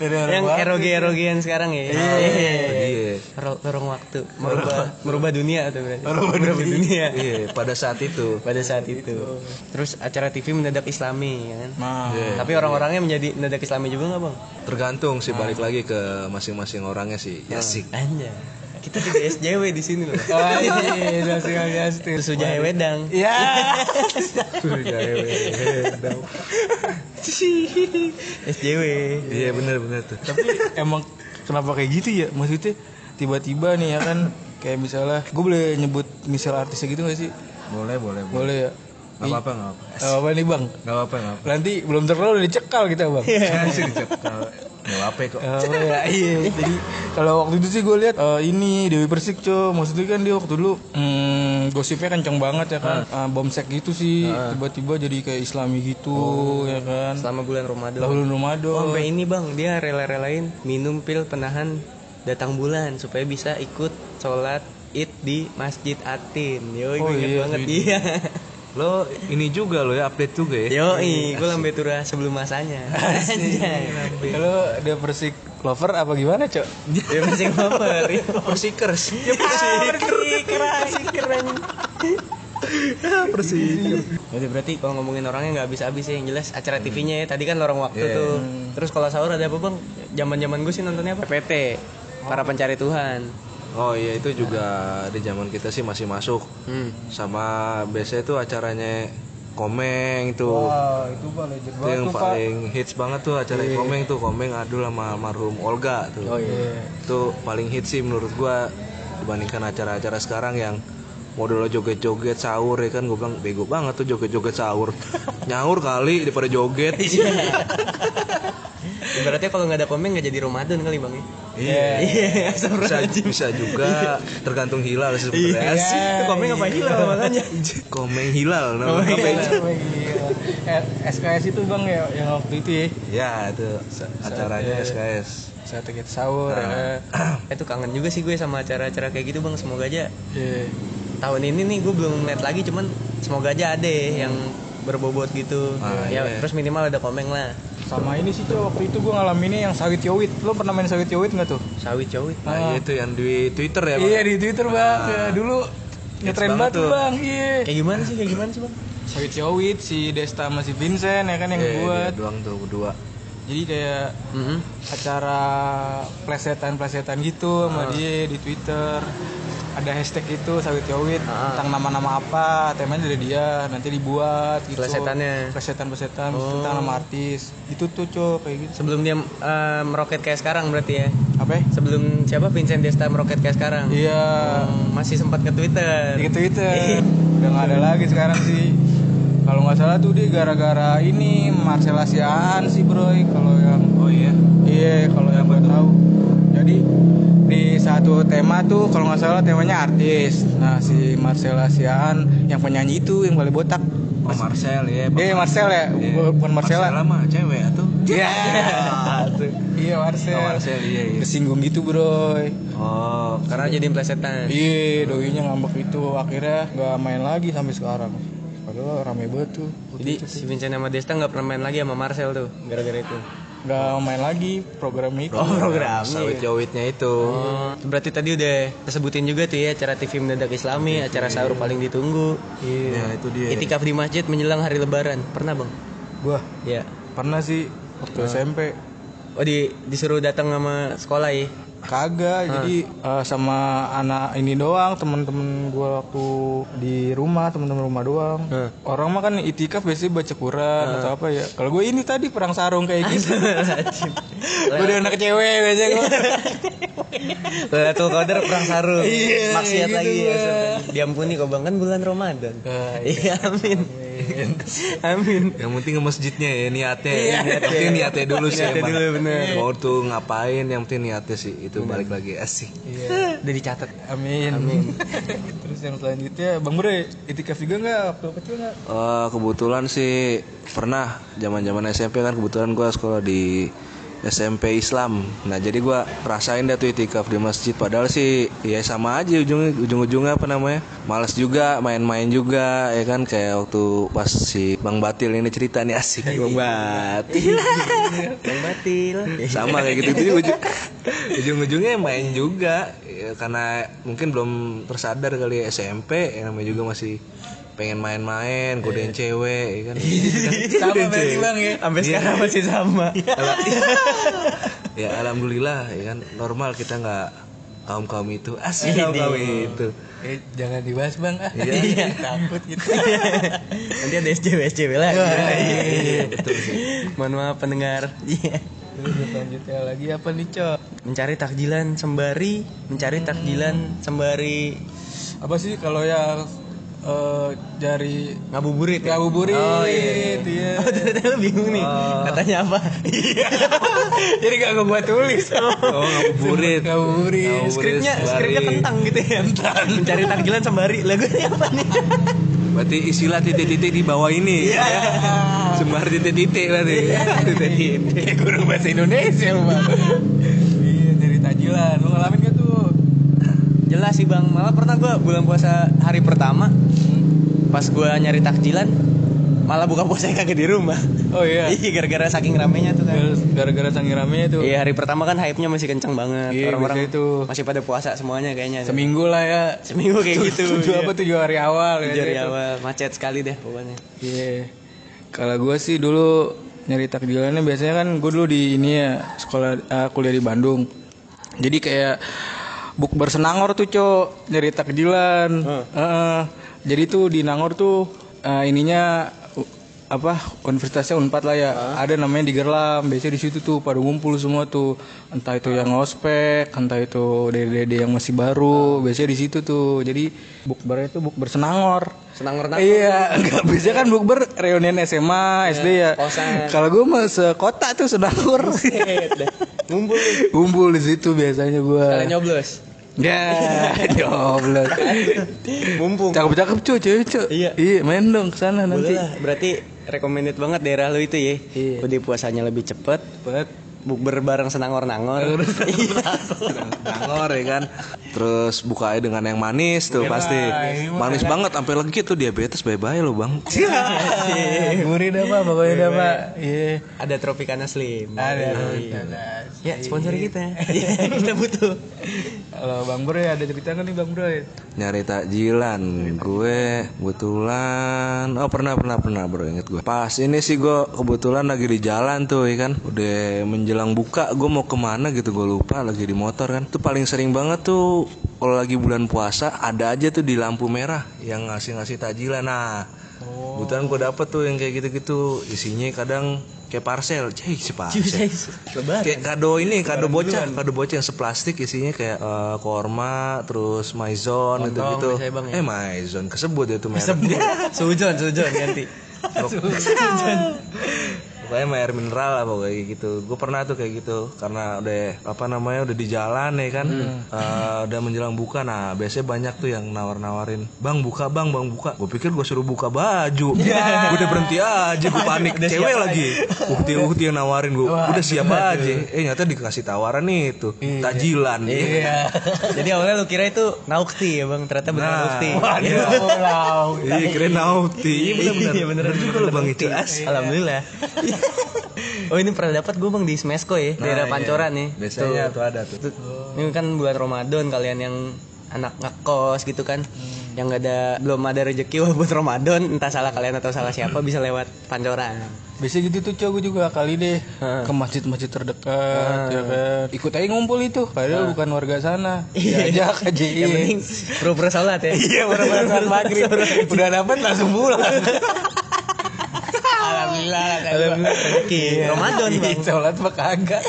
Speaker 1: dari
Speaker 2: Yang eroge erogean sekarang ya.
Speaker 3: Iya.
Speaker 2: Ro- Lorong waktu merubah merubah dunia tuh berarti. Merubah dunia.
Speaker 3: Iya, pada saat itu.
Speaker 2: Pada saat
Speaker 1: Gitu.
Speaker 2: itu. Terus acara TV mendadak Islami ya kan.
Speaker 1: nah
Speaker 2: Tapi orang-orangnya menjadi mendadak Islami juga nggak bang?
Speaker 3: Tergantung sih balik lagi ke masing-masing orangnya sih. Ya sih.
Speaker 2: Anja. Kita tidak SJW di sini loh.
Speaker 1: oh iya langsung aja tuh
Speaker 2: Susu jahe wedang.
Speaker 1: ya
Speaker 3: Iya,
Speaker 2: SJW.
Speaker 3: Iya benar-benar tuh.
Speaker 1: tapi emang kenapa kayak gitu ya maksudnya tiba-tiba nih ya kan kayak misalnya gue boleh nyebut misal artisnya gitu gak sih
Speaker 3: Boleh, boleh, boleh.
Speaker 1: boleh ya
Speaker 3: Gak apa-apa, gak apa.
Speaker 1: Gak apa nih bang
Speaker 3: Gak apa-apa, gak apa.
Speaker 1: nanti belum terlalu udah dicekal kita bang
Speaker 3: Masih dicekal. Gak apa-apa kok.
Speaker 1: Oh, ya, iya. Jadi kalau waktu itu sih gue lihat eh, ini Dewi Persik cuy, maksudnya kan dia waktu dulu hmm, gosipnya kenceng banget ya kan, Ah, bomsek gitu sih, tiba-tiba jadi kayak Islami gitu ya kan,
Speaker 2: Selama bulan Ramadan. Oh,
Speaker 1: lahulun Ramadan.
Speaker 2: Sampai ini bang, dia rela-relain minum pil penahan datang bulan supaya bisa ikut sholat id di masjid Atin. Yo,
Speaker 1: Oh,
Speaker 2: gue inget
Speaker 1: iya,
Speaker 2: banget
Speaker 1: iya.
Speaker 2: iya.
Speaker 3: Lo ini juga lo ya, update juga ya.
Speaker 2: Yo, gue lambe turah sebelum masanya. Anjay.
Speaker 1: Kalau Dewi Persik lover apa gimana cok?
Speaker 2: Dia masih ngoper. Ya,
Speaker 3: Persikers.
Speaker 2: Persik, persik keren.
Speaker 3: Ya, Persikers. Hmm.
Speaker 2: Jadi berarti kalau ngomongin orangnya nggak habis-habis ya yang jelas acara TV-nya ya. Tadi kan lorong waktu
Speaker 3: Iya.
Speaker 2: tuh. Terus kalau sahur ada apa bang? Zaman-zaman gue sih nontonnya apa? PT. Para pencari Tuhan.
Speaker 3: Oh iya itu juga di zaman kita sih masih masuk.
Speaker 2: Hmm.
Speaker 3: Sama biasanya tuh acaranya Komeng tuh.
Speaker 1: Wah itu pak legend
Speaker 3: Itu yang paling hits banget tuh acara Komeng tuh Komeng Adul sama almarhum Olga tuh.
Speaker 1: Oh, iya.
Speaker 3: Itu paling hits sih menurut gua dibandingkan acara-acara sekarang yang model lo joget-joget sahur ya kan gue bilang bego banget tuh joget-joget sahur nyaur kali daripada joget
Speaker 1: Iya.
Speaker 2: Ibaratnya Ya, kalau nggak ada komen nggak jadi Ramadan kali bang ya.
Speaker 3: iya
Speaker 2: Iya,
Speaker 3: bisa, bisa
Speaker 1: Iya.
Speaker 3: juga tergantung hilal sih sebenarnya Asik.
Speaker 2: Itu komen apa
Speaker 3: iya.
Speaker 2: hilang makanya.
Speaker 3: komeng hilal namanya.
Speaker 1: eh, SKS itu bang ya yang waktu itu ya
Speaker 3: ya itu sa-
Speaker 1: Iya.
Speaker 3: acaranya SKS
Speaker 1: saat kita sahur
Speaker 3: Ah.
Speaker 1: ya. kan.
Speaker 2: Itu kangen juga sih gue sama acara-acara kayak gitu bang. Semoga aja
Speaker 1: Iya.
Speaker 2: tahun ini nih gue belum ngeliat lagi cuman semoga aja ada ya yang berbobot gitu.
Speaker 3: Ah,
Speaker 2: ya
Speaker 3: iya.
Speaker 2: terus minimal ada komen lah.
Speaker 1: Sama ini sih Cok, waktu itu gue ngalaminnya yang sawit yowit. Lo pernah main sawit yowit nggak tuh? Ah.
Speaker 2: Sawit cowit.
Speaker 3: nah iya itu yang di Twitter ya Bang?
Speaker 1: Iya di Twitter bang, Ya, dulu ngetren
Speaker 3: banget
Speaker 1: banget tuh
Speaker 3: tuh.
Speaker 1: bang, iya.
Speaker 2: Kayak gimana sih? Kayak gimana sih bang?
Speaker 1: Sawit yowit si Desta sama si Vincent ya kan yang
Speaker 3: Iya, dia
Speaker 1: buat.
Speaker 3: doang tuh berdua
Speaker 1: Jadi kayak
Speaker 2: Mhm.
Speaker 1: acara plesetan-plesetan gitu
Speaker 2: Ah.
Speaker 1: sama dia di Twitter. Ada hashtag itu sawit yowit
Speaker 2: Ah.
Speaker 1: tentang nama-nama apa, temanya dari dia, nanti dibuat gitu.
Speaker 2: Plesetannya.
Speaker 1: Plesetan-plesetan
Speaker 2: Oh.
Speaker 1: tentang nama artis. Itu tuh cok kayak gitu.
Speaker 2: Sebelum dia eh, meroket kayak sekarang berarti ya.
Speaker 1: Apa? ya?
Speaker 2: Sebelum siapa Vincent Desta meroket kayak sekarang.
Speaker 1: Iya.
Speaker 2: Masih sempat ke Twitter.
Speaker 1: di Twitter udah nggak ada lagi sekarang sih kalau nggak salah tuh dia gara-gara ini Marcella Siahaan sih broy kalau yang
Speaker 3: oh iya
Speaker 1: iya kalau yang gue tahu jadi di satu tema tuh kalau nggak salah temanya artis nah si Marcella Siahaan yang penyanyi itu yang paling botak
Speaker 3: Oh Marcel ya.
Speaker 1: eh Marcel ya Bu- bukan Marcella
Speaker 3: mah cewek tuh.
Speaker 1: iya iya
Speaker 3: Oh
Speaker 1: Marcel
Speaker 3: Marcel iya iya.
Speaker 1: kesinggung gitu broy
Speaker 3: Oh
Speaker 2: Karena jadi plesetan.
Speaker 1: Iya, doinya ngambek itu akhirnya nggak main lagi sampai sekarang. Padahal rame banget tuh.
Speaker 2: Jadi si Vincent sama Desta nggak pernah main lagi sama Marcel tuh gara-gara itu.
Speaker 1: nggak main lagi program itu.
Speaker 2: program.
Speaker 3: sawit yowitnya itu.
Speaker 2: Oh, berarti tadi udah disebutin juga tuh ya acara TV mendadak Islami, acara sahur paling ditunggu.
Speaker 1: Iya.
Speaker 3: Ya itu
Speaker 4: Iya.
Speaker 3: dia.
Speaker 2: Itikaf di masjid menjelang hari lebaran. Pernah, Bang?
Speaker 1: Gua
Speaker 2: Iya.
Speaker 1: pernah sih waktu SMP.
Speaker 2: Oh, di disuruh datang sama sekolah ya.
Speaker 1: Kagak, jadi eh, sama anak ini doang, teman-teman gua waktu di rumah, teman-teman rumah doang. Orang mah kan itikaf biasanya baca Quran atau apa ya. Kalau gue ini tadi perang sarung kayak gitu. gue udah anak cewek biasanya gue.
Speaker 4: Lailatul Qadar perang sarung.
Speaker 1: Iya,
Speaker 4: Maksiat
Speaker 1: gitu
Speaker 4: lagi ya.
Speaker 1: lah.
Speaker 4: Ustaz. Diampuni kau bang kan bulan Ramadan. Iya, amin.
Speaker 2: Ah, Amin.
Speaker 3: Yang penting ke masjidnya ya niatnya. ya. Yang penting niatnya dulu sih. Niatnya dulu bener. Mau tuh ngapain yang penting niatnya sih itu balik lagi asik.
Speaker 1: Udah dicatat. Iya. Amin. Terus yang selanjutnya, Bang Bre, itikaf juga nggak waktu kecil nggak?
Speaker 3: Eh, kebetulan sih pernah zaman-zaman SMP kan kebetulan gua sekolah di SMP Islam. Nah jadi gua rasain dah tuh itikaf di masjid. Padahal sih ya sama aja ujung ujung-ujungnya apa namanya males juga main-main juga ya kan kayak waktu pas si Bang Batil ini cerita nih asik Bang Batil
Speaker 4: Bang Batil.
Speaker 3: sama kayak gitu itu ujung ujung-ujungnya main juga Ya, karena mungkin belum tersadar kali ya, SMP yang namanya juga masih pengen main-main godain cewek ya kan
Speaker 1: Sama berarti Bang ya.
Speaker 4: Iya, Sampai sekarang masih sama.
Speaker 3: ya alhamdulillah ya kan normal kita nggak kaum kaum itu asli kaum kaum itu
Speaker 1: Eh, jangan dibahas Bang ah.
Speaker 4: Iya.
Speaker 1: Takut gitu.
Speaker 4: Nanti ada SJW SJW lagi.
Speaker 2: iya, Mohon maaf pendengar.
Speaker 4: Iya.
Speaker 1: Terus yang selanjutnya lagi apa nih, Cok?
Speaker 4: Mencari takjilan sembari, mencari takjilan sembari
Speaker 1: Apa sih kalau yang eh, dari
Speaker 4: ngabuburit. ya?
Speaker 1: ngabuburit?
Speaker 4: Oh, iya.
Speaker 1: iya.
Speaker 4: Oh, ternyata lu bingung nih.
Speaker 1: Oh.
Speaker 4: Katanya apa?
Speaker 1: Jadi gak gue buat Iya. tulis.
Speaker 3: oh ngabuburit
Speaker 1: Ngabuburit.
Speaker 4: Skripnya skripnya tentang gitu ya. Mencari takjilan sembari. Lagunya apa nih?
Speaker 3: berarti istilah titik-titik di bawah ini ya sembar titik-titik berarti titik-titik
Speaker 1: Kayak guru bahasa Indonesia lu, Bang. Iya, dari tajilan. Lu ngalamin gak tuh?
Speaker 2: Jelas sih bang. Malah pernah gua bulan puasa hari pertama pas gua nyari takjilan malah buka puasa kagak di rumah.
Speaker 1: Oh iya.
Speaker 2: Iya gara-gara saking ramenya tuh kan.
Speaker 1: Terus Gara-gara sangi rame tuh.
Speaker 2: Iya hari pertama kan hype-nya masih kencang banget.
Speaker 1: Iya,
Speaker 2: Orang-orang
Speaker 1: biasanya tuh.
Speaker 2: masih pada puasa semuanya kayaknya.
Speaker 1: Seminggu lah ya.
Speaker 2: Seminggu kayak gitu.
Speaker 1: Tujuh
Speaker 2: iya.
Speaker 1: apa tujuh hari awal ya.
Speaker 2: Tujuh hari
Speaker 1: itu.
Speaker 2: awal macet sekali deh pokoknya.
Speaker 1: Iya. Kalau gue sih dulu nyari takjilannya biasanya kan gue dulu di ini ya sekolah eh, kuliah di Bandung. Jadi kayak bukber senangor tuh cok nyari takjilan. Heeh. jadi tuh di Nangor tuh eh, ininya u- apa universitasnya unpad lah ya ada namanya di Gerlam biasanya di situ tuh pada ngumpul semua tuh entah itu yang ospek entah itu dede-dede yang masih baru biasanya di situ tuh jadi bukbernya tuh bukber senangor
Speaker 2: Senang renang.
Speaker 1: Iya, enggak bisa kan bukber reunian
Speaker 2: Iya,
Speaker 1: SMA, SD ya. Kalau gue mah sekota tuh sedangkur.
Speaker 2: Ngumpul
Speaker 1: Kumpul di situ biasanya gue.
Speaker 2: kalian nyoblos.
Speaker 1: Ya, jomblos.
Speaker 2: Mumpung.
Speaker 1: Cakep-cakep cuy, cewek cuy.
Speaker 2: Iya.
Speaker 1: main dong ke sana
Speaker 2: Boleh
Speaker 1: nanti.
Speaker 2: lah. Berarti recommended banget daerah lu itu ya.
Speaker 1: Iya.
Speaker 2: Udah puasanya lebih cepet.
Speaker 1: Cepet.
Speaker 2: Bukber bareng senangor-nangor.
Speaker 3: Nangor ya kan Terus bukanya dengan yang manis tuh pasti Manis banget sampai legit tuh diabetes bye-bye lo bang
Speaker 1: Gurih dah Pak, pokoknya dah Pak. Iya.
Speaker 2: Ada Tropicana Slim.
Speaker 1: Ada.
Speaker 2: Ya, sponsor kita. Iya, kita butuh.
Speaker 1: Kalau Bang Bro ya, ada cerita nggak nih Bang Bro? ya?
Speaker 3: Nyari takjilan Gue kebetulan Oh pernah pernah pernah bro inget gue Pas ini sih gue kebetulan lagi di jalan tuh ya kan Udah menjelang buka gue mau kemana gitu gue lupa lagi di motor kan Tuh paling sering banget tuh kalau lagi bulan puasa ada aja tuh di lampu merah yang ngasih-ngasih takjilan nah Kebetulan gue dapet tuh yang kayak gitu-gitu Isinya kadang kayak parcel Cih, si parcel Kayak kado ini, Iya, kado bocah Kado bocah yang seplastik isinya kayak eh, korma Terus maizon gitu-gitu Eh maizon, kesebut ya tuh merek
Speaker 2: Sujon, sujon ganti.
Speaker 3: Pokoknya air mineral lah pokoknya gitu Gue pernah tuh kayak gitu Karena udah, apa namanya, udah di jalan ya kan Eh, Udah menjelang buka Nah biasanya banyak tuh yang nawar-nawarin Bang buka bang, bang buka Gue pikir gue suruh buka baju Gue Iya. udah berhenti aja, gue panik Cewek lagi Ukti-ukti yang nawarin gue Udah siap aja Eh nyata dikasih tawaran nih itu Tajilan
Speaker 2: Jadi awalnya lu kira itu naukti ya, Bang. Ternyata beneran
Speaker 3: Nah.
Speaker 2: naukti.
Speaker 3: Waduh.
Speaker 1: Wow.
Speaker 3: Iya keren nauti Iya bener-bener
Speaker 2: Iya, beneran.
Speaker 3: Bener juga lo bang itu Iya. As-
Speaker 2: Alhamdulillah. oh, ini pernah dapat gue Bang di
Speaker 3: Ah, iya.
Speaker 2: Smesko ya, daerah Pancoran nih.
Speaker 3: Biasanya tuh ada tuh
Speaker 2: Tuh, Ini kan bulan Ramadan kalian yang anak ngekos gitu kan
Speaker 3: Hmm.
Speaker 2: yang nggak ada belum ada rezeki wah buat Ramadan entah salah kalian atau salah siapa bisa lewat Pancoran
Speaker 1: Biasanya gitu tuh cowok gue juga kali deh ke masjid-masjid terdekat ya kan. Ikut aja ngumpul itu padahal bukan warga sana. Diajak aja.
Speaker 2: Iya. yang penting pura-pura sholat ya
Speaker 1: Iya, baru-baru sholat maghrib. Udah dapat langsung pulang.
Speaker 2: alhamdulillah Iya. alhamdulillah rezeki Ramadan bang
Speaker 1: Sholat mah kagak.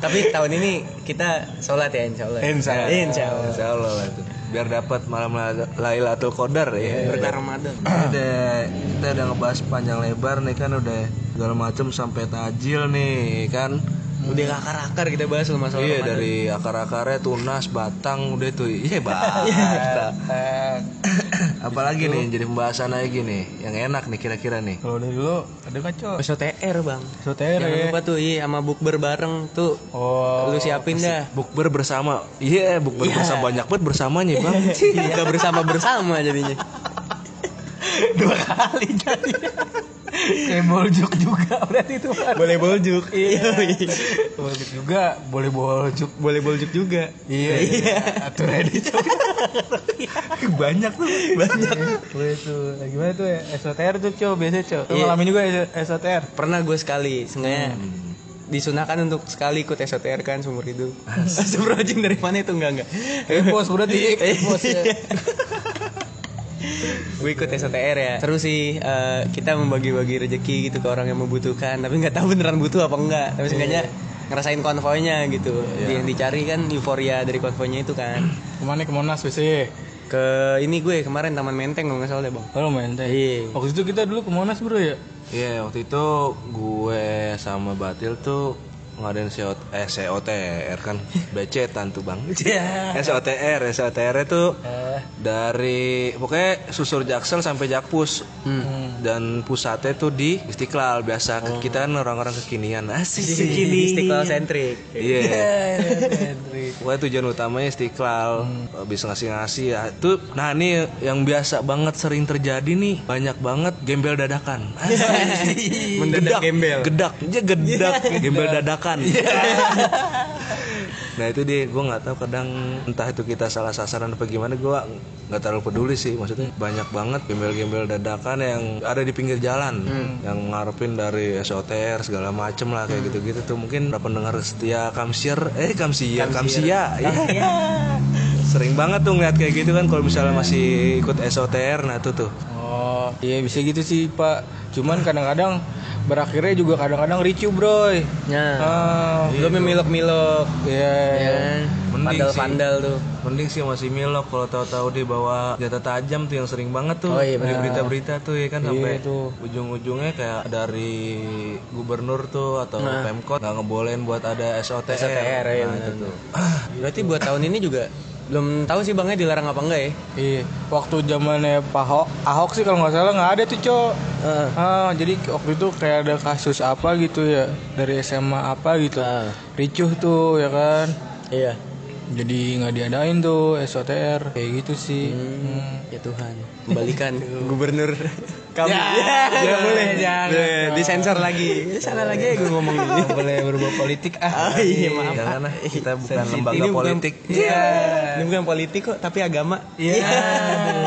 Speaker 2: tapi tahun ini kita sholat ya insya Allah
Speaker 1: Insya Allah.
Speaker 2: insya Allah
Speaker 3: Iya, Insya Allah lah itu. Biar dapat malam la- Lailatul Qadar ya.
Speaker 2: berkah Ramadan
Speaker 3: Udah, kita udah ngebahas panjang lebar nih kan udah segala macem sampai tajil nih kan.
Speaker 2: udah akar-akar kita bahas loh masalah
Speaker 3: Iya
Speaker 2: Ramadan.
Speaker 3: dari akar-akarnya tunas, batang udah tuh. Iya batang. Apalagi nih jadi pembahasan lagi nih yang enak nih kira-kira nih.
Speaker 1: Kalau dari dulu ada kacau.
Speaker 2: Besok TR bang
Speaker 1: Sotere.
Speaker 2: Jangan lupa tuh iya sama bukber bareng tuh
Speaker 1: Oh.
Speaker 2: lu siapin dah
Speaker 3: Bukber bersama. Iya, bukber bersama banyak banget bersamanya, Bang.
Speaker 2: buka Iya. bersama bersama jadinya
Speaker 1: Dua kali jadi. Kayak boljuk juga berarti itu.
Speaker 2: boleh boljuk iya
Speaker 1: Boljuk juga, boleh boljuk.
Speaker 2: boleh boljuk juga
Speaker 1: Iya. iya. Atur aja cowok. Banyak tuh. Banyak. Boleh Iya, tuh. Nah, gimana tuh ya? SOTR tuh cowok biasa cowok. Lu
Speaker 2: Iya.
Speaker 1: ngalamin juga S- SOTR.
Speaker 2: pernah gue sekali sengaja disunahkan untuk sekali ikut SOTR kan seumur hidup Astagfirullahaladzim dari mana itu enggak enggak
Speaker 1: Bos berarti bos ya.
Speaker 2: gue ikut SOTR ya terus sih eh, kita membagi-bagi rezeki gitu ke orang yang membutuhkan tapi nggak tahu beneran butuh apa enggak tapi seenggaknya ngerasain konvoynya gitu yang dicari kan euforia dari konvoynya itu kan
Speaker 1: Kemana ke Monas iya. biasanya?
Speaker 2: ke ini gue kemarin Taman Menteng kalau nggak salah deh bang
Speaker 1: Oh main teh.
Speaker 2: Iya.
Speaker 1: Waktu itu kita dulu ke Monas bro ya.
Speaker 3: Iya, waktu itu gue sama Batil tuh ngadain CO eh, COTR kan becetan Eh. tuh Bang.
Speaker 2: Iya.
Speaker 3: Eh, SOTR, SOTR itu dari pokoknya susur Jaksel sampai Jakpus. Dan pusatnya tuh di Istiqlal biasa. Kita kan orang-orang kekinian. Asik
Speaker 2: Jadi Istiqlal sentrik
Speaker 3: Iya. Pokoknya tujuan utamanya Istiqlal Habis ngasih-ngasih ya Itu Nah ini yang biasa banget sering terjadi nih Banyak banget gembel dadakan
Speaker 2: Mendadak gembel.
Speaker 3: Gedak Dia gedak Gembel dadakan Nah itu dia Gue gak tahu kadang Entah itu kita salah sasaran apa gimana Gue gak terlalu peduli sih Maksudnya banyak banget gembel-gembel dadakan Yang ada di pinggir jalan Yang ngarepin dari SOTR Segala macem lah Kayak gitu-gitu tuh Mungkin para pendengar setia Kamsir Eh Kamsia Kamsia, Iya. Sering banget tuh ngeliat kayak gitu kan Kalau misalnya masih ikut SOTR Nah itu tuh
Speaker 1: Oh iya bisa gitu sih pak. Cuman kadang-kadang berakhirnya juga kadang-kadang ricu bro. Ah,
Speaker 2: nah lu memilok-milok
Speaker 1: iya.
Speaker 2: ya
Speaker 3: Mending sih.
Speaker 2: pandal-pandal tuh
Speaker 3: Mending sih masih milok kalau tahu-tahu dia bawa senjata tajam tuh yang sering banget tuh
Speaker 2: Oh, iya,
Speaker 3: dari berita-berita tuh ya kan sampai
Speaker 1: tuh.
Speaker 3: ujung-ujungnya kayak dari gubernur tuh atau
Speaker 2: Nah.
Speaker 3: pemkot nggak ngebolehin buat ada SOTR.
Speaker 2: SOTR, iya,
Speaker 3: nah, itu tuh.
Speaker 2: berarti buat tahun ini juga belum tahu sih bangnya dilarang apa enggak ya
Speaker 1: Iya, waktu zamannya Pak Ho- Ahok sih kalau nggak salah nggak ada tuh cok. Ah, jadi waktu itu kayak ada kasus apa gitu ya dari SMA apa gitu, ricuh tuh ya kan.
Speaker 2: iya
Speaker 1: Jadi nggak diadain tuh SOTR kayak gitu sih. Hmm.
Speaker 2: ya Tuhan kembalikan gubernur kami ya, boleh jangan disensor lagi salah lagi ya gue ngomong ini
Speaker 1: Nggak boleh berbau politik ah.
Speaker 2: oh, iya maaf
Speaker 3: Jangan lah, kan, nah, kita bukan
Speaker 2: Sensitif.
Speaker 3: lembaga
Speaker 2: Ini bukan-
Speaker 3: politik.
Speaker 2: Iya. Ini bukan politik kok, tapi agama. Iya.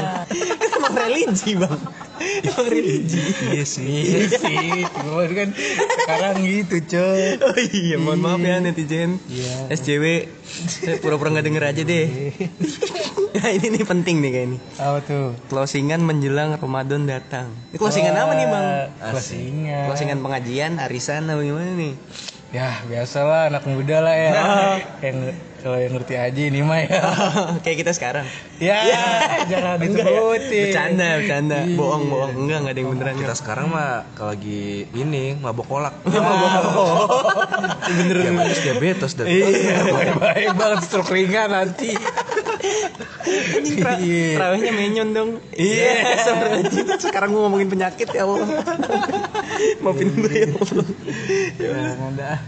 Speaker 2: Emang religi, Bang. Emang religi.
Speaker 1: Iya sih, iya sih. Cuman kan sekarang gitu cok.
Speaker 2: Oh iya, mohon maaf ya netizen.
Speaker 1: Iya.
Speaker 2: SJW saya pura-pura nggak denger aja deh. nah, ini nih penting nih kayak ini.
Speaker 1: Apa tuh?
Speaker 2: Closingan menjelang Ramadan datang. Ini closingan apa nih, Bang?
Speaker 1: Ah, Closingan.
Speaker 2: Closingan pengajian, arisan apa gimana nih?
Speaker 1: Ya biasalah anak muda lah ya. yang kalau yang ngerti aja ini mah ya.
Speaker 2: kayak kita sekarang.
Speaker 1: Ya, jangan
Speaker 2: Enggak ya?
Speaker 1: disebutin.
Speaker 2: Bercanda, bercanda. Bohong, bohong. Enggak, enggak ada yang beneran.
Speaker 3: Kita sekarang mah kalau lagi ini mabok kolak.
Speaker 2: Bener.
Speaker 3: Diabetes, diabetes dan
Speaker 1: Iya, baik-baik banget stroke ringan nanti.
Speaker 2: Anjing, tra-
Speaker 1: Iya.
Speaker 2: Terawihnya menyon dong. Iya, astagfirullahaladzim. Sekarang gua ngomongin penyakit ya Allah. Maafin gue ya Allah. Ya Allah.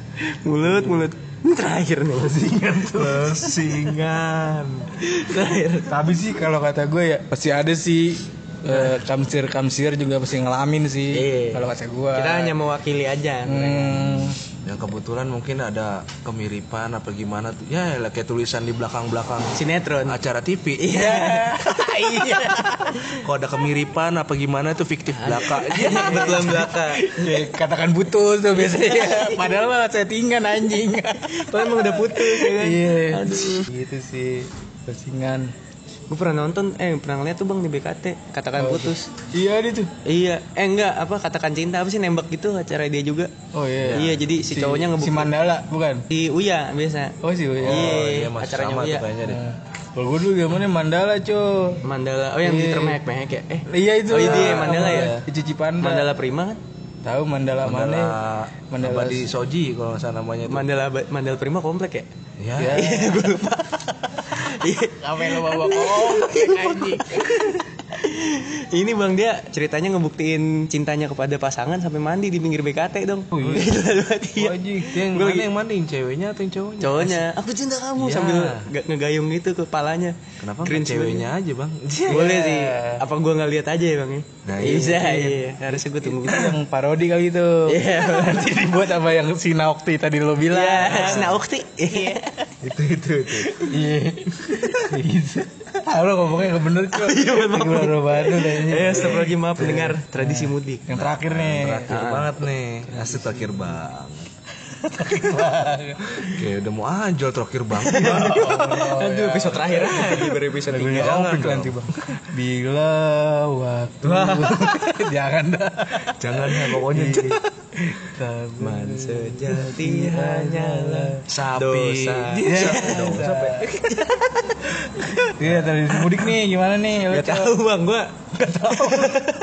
Speaker 2: Mulut, mulut. Ini terakhir nih.
Speaker 1: Lesingan.
Speaker 2: Terakhir.
Speaker 1: Tapi sih kalau kata gue ya pasti ada sih eh, kamsir-kamsir juga pasti ngalamin sih.
Speaker 2: Iya.
Speaker 1: Kalau kata gue.
Speaker 2: Kita hanya mewakili aja.
Speaker 1: Hmm,
Speaker 3: yang kebetulan mungkin ada kemiripan apa gimana tuh ya lah, kayak tulisan di belakang belakang
Speaker 2: Iya.
Speaker 5: Sinetron.
Speaker 3: acara TV
Speaker 5: Iya. Iya.
Speaker 3: kalau ada kemiripan apa gimana itu fiktif belaka
Speaker 2: Kebetulan belaka.
Speaker 1: Ya, katakan putus tuh biasanya. Padahal malah settingan anjing.
Speaker 2: Padahal emang udah putus ya kan.
Speaker 1: Iya.
Speaker 2: Aduh.
Speaker 1: Gitu sih. Settingan.
Speaker 2: Gue pernah nonton, eh pernah ngeliat tuh bang di BKT katakan putus.
Speaker 1: Iya dia tuh.
Speaker 2: Oh, Iya, eh enggak apa katakan cinta apa sih nembak gitu acara dia juga.
Speaker 1: Oh iya.
Speaker 2: Iya, jadi si cowoknya ngebuka-
Speaker 1: Si Mandala bukan?
Speaker 2: Di Uya biasa.
Speaker 1: Oh si Uya.
Speaker 3: oh iya masih
Speaker 2: acaranya
Speaker 3: sama
Speaker 2: Uya.
Speaker 3: tuh kayaknya deh
Speaker 1: Iya. Kalau gue dulu zamannya Mandala, Cok.
Speaker 2: Mandala, oh yang di
Speaker 1: Iya.
Speaker 2: termehek-mehek ya? Eh,
Speaker 1: Iya itu.
Speaker 2: Oh, iya, dia, Mandala ya?
Speaker 1: Cuci Panda.
Speaker 2: Mandala Prima kan?
Speaker 1: Tahu Mandala,
Speaker 3: Mandala,
Speaker 1: mana? Mandala-
Speaker 3: apa di Soji kalau nggak salah namanya tuh.
Speaker 2: Mandala Ba- Mandala Prima komplek ya? Iya.
Speaker 3: ya,
Speaker 1: Ya. Apa yang lo bawa komplek anjing?
Speaker 2: Ini bang dia ceritanya ngebuktiin cintanya kepada pasangan sampai mandi di pinggir BKT dong. Gila banget, iya.
Speaker 1: Oh, Anjing.
Speaker 3: Dia yang mana yang manding ceweknya atau yang cowoknya
Speaker 2: Cowoknya, aku cinta kamu
Speaker 3: Iya.
Speaker 2: sambil ga- ngegayung gitu ke kepalanya.
Speaker 3: kenapa nggak
Speaker 2: Cringe
Speaker 3: ceweknya aja bang
Speaker 2: banget. Boleh sih. Apa gua nggak lihat aja ya bang ya?
Speaker 3: Nah, iya.
Speaker 2: Bisa, iya. Harusnya gua tunggu.
Speaker 1: Itu yang parodi kali itu.
Speaker 2: Iya.
Speaker 1: Nanti dibuat sama yang si Naokti tadi lo bilang.
Speaker 2: Iya, Snaukti. Iya.
Speaker 3: itu itu itu
Speaker 1: Iya. Bisa. Ah, lo ngomongnya gak bener, Cok. Iya, maaf. Gue baru kayaknya.
Speaker 2: Eh, setelah lagi maaf dengar tradisi mudik.
Speaker 1: Yang terakhir nih.
Speaker 3: terakhir banget nih asli terakhir bang Kayak udah mau anjol terakhir bang
Speaker 2: Aduh, episode terakhir aja baru episode
Speaker 1: Lagunya Opik nanti, Bang. Bila waktu. Jangan dah.
Speaker 3: Jangan ya
Speaker 2: Iya.
Speaker 3: pokoknya
Speaker 1: Taman
Speaker 2: sejati hanyalah
Speaker 3: Sapi
Speaker 1: Dosa. Iya, tadi mudik nih gimana nih? Lo,
Speaker 2: Gak
Speaker 1: Cok?
Speaker 2: tahu bang, gue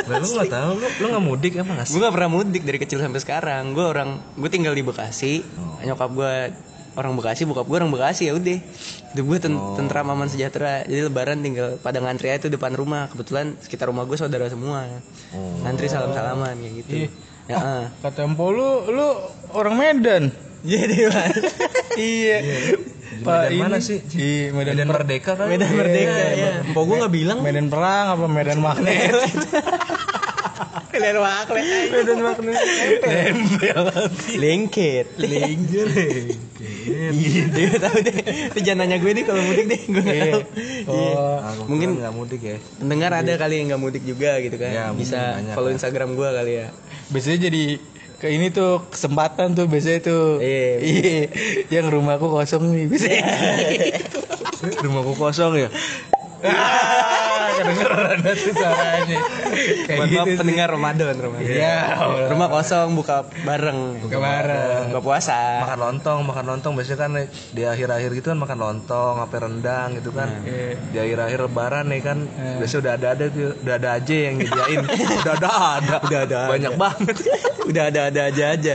Speaker 3: Nah, Lu gak tau, lu, lu gak mudik emang gak
Speaker 2: gue gak pernah mudik dari kecil sampai sekarang. Gue orang, gue tinggal di Bekasi. Nyokap gue orang Bekasi, bokap gue orang Bekasi ya udah. Itu gue ten- tentram aman sejahtera. Jadi lebaran tinggal pada ngantri aja tuh depan rumah. Kebetulan sekitar rumah gue saudara semua. Ngantri salam-salaman kayak gitu. Ya, eh.
Speaker 1: Kata Empo lu, lu orang Medan.
Speaker 2: Jadi Bang.
Speaker 1: iya. Pak
Speaker 3: Medan mana
Speaker 1: ini-
Speaker 3: sih?
Speaker 1: Di Medan,
Speaker 3: Medan
Speaker 1: Per-
Speaker 3: Merdeka kan?
Speaker 2: Medan Merdeka ya. Empok gue gak bilang.
Speaker 1: Medan Perang apa Medan Magnet?
Speaker 2: Medan Magnet. Medan Magnet. Lengket.
Speaker 1: Lengger.
Speaker 2: Dia tahu deh. Itu jangan nanya gue nih kalau mudik deh, gue nggak tahu. Iya. Iya.
Speaker 1: Oh,
Speaker 2: Mungkin
Speaker 3: Mungkin gak mudik ya
Speaker 2: pendengar ada kali yang nggak mudik juga gitu kan.
Speaker 3: Ya, mungkin
Speaker 2: Bisa
Speaker 3: banyak
Speaker 2: follow
Speaker 3: lah.
Speaker 2: Instagram gue kali ya.
Speaker 1: biasanya jadi ke ini tuh kesempatan tuh biasanya tuh.
Speaker 2: Iya.
Speaker 1: Iya. Yang rumahku kosong nih biasanya.
Speaker 3: Rumahku kosong ya
Speaker 1: Ah, kedengeran tuh suaranya. Kayak
Speaker 2: Buat
Speaker 1: gitu.
Speaker 2: maaf, pendengar Ramadan, Ramadan.
Speaker 1: Iya.
Speaker 2: Rumah kosong buka bareng.
Speaker 1: Kemarin.
Speaker 2: Buka puasa.
Speaker 3: Makan lontong, makan lontong biasanya kan di akhir-akhir gitu kan makan lontong, apa rendang gitu kan.
Speaker 2: Iya.
Speaker 3: Di akhir-akhir lebaran nih kan biasanya udah ada ada tuh, udah ada aja yang nyediain. udah ada ada.
Speaker 2: Iya. Udah ada
Speaker 3: Banyak banget.
Speaker 2: Udah ada-ada aja aja.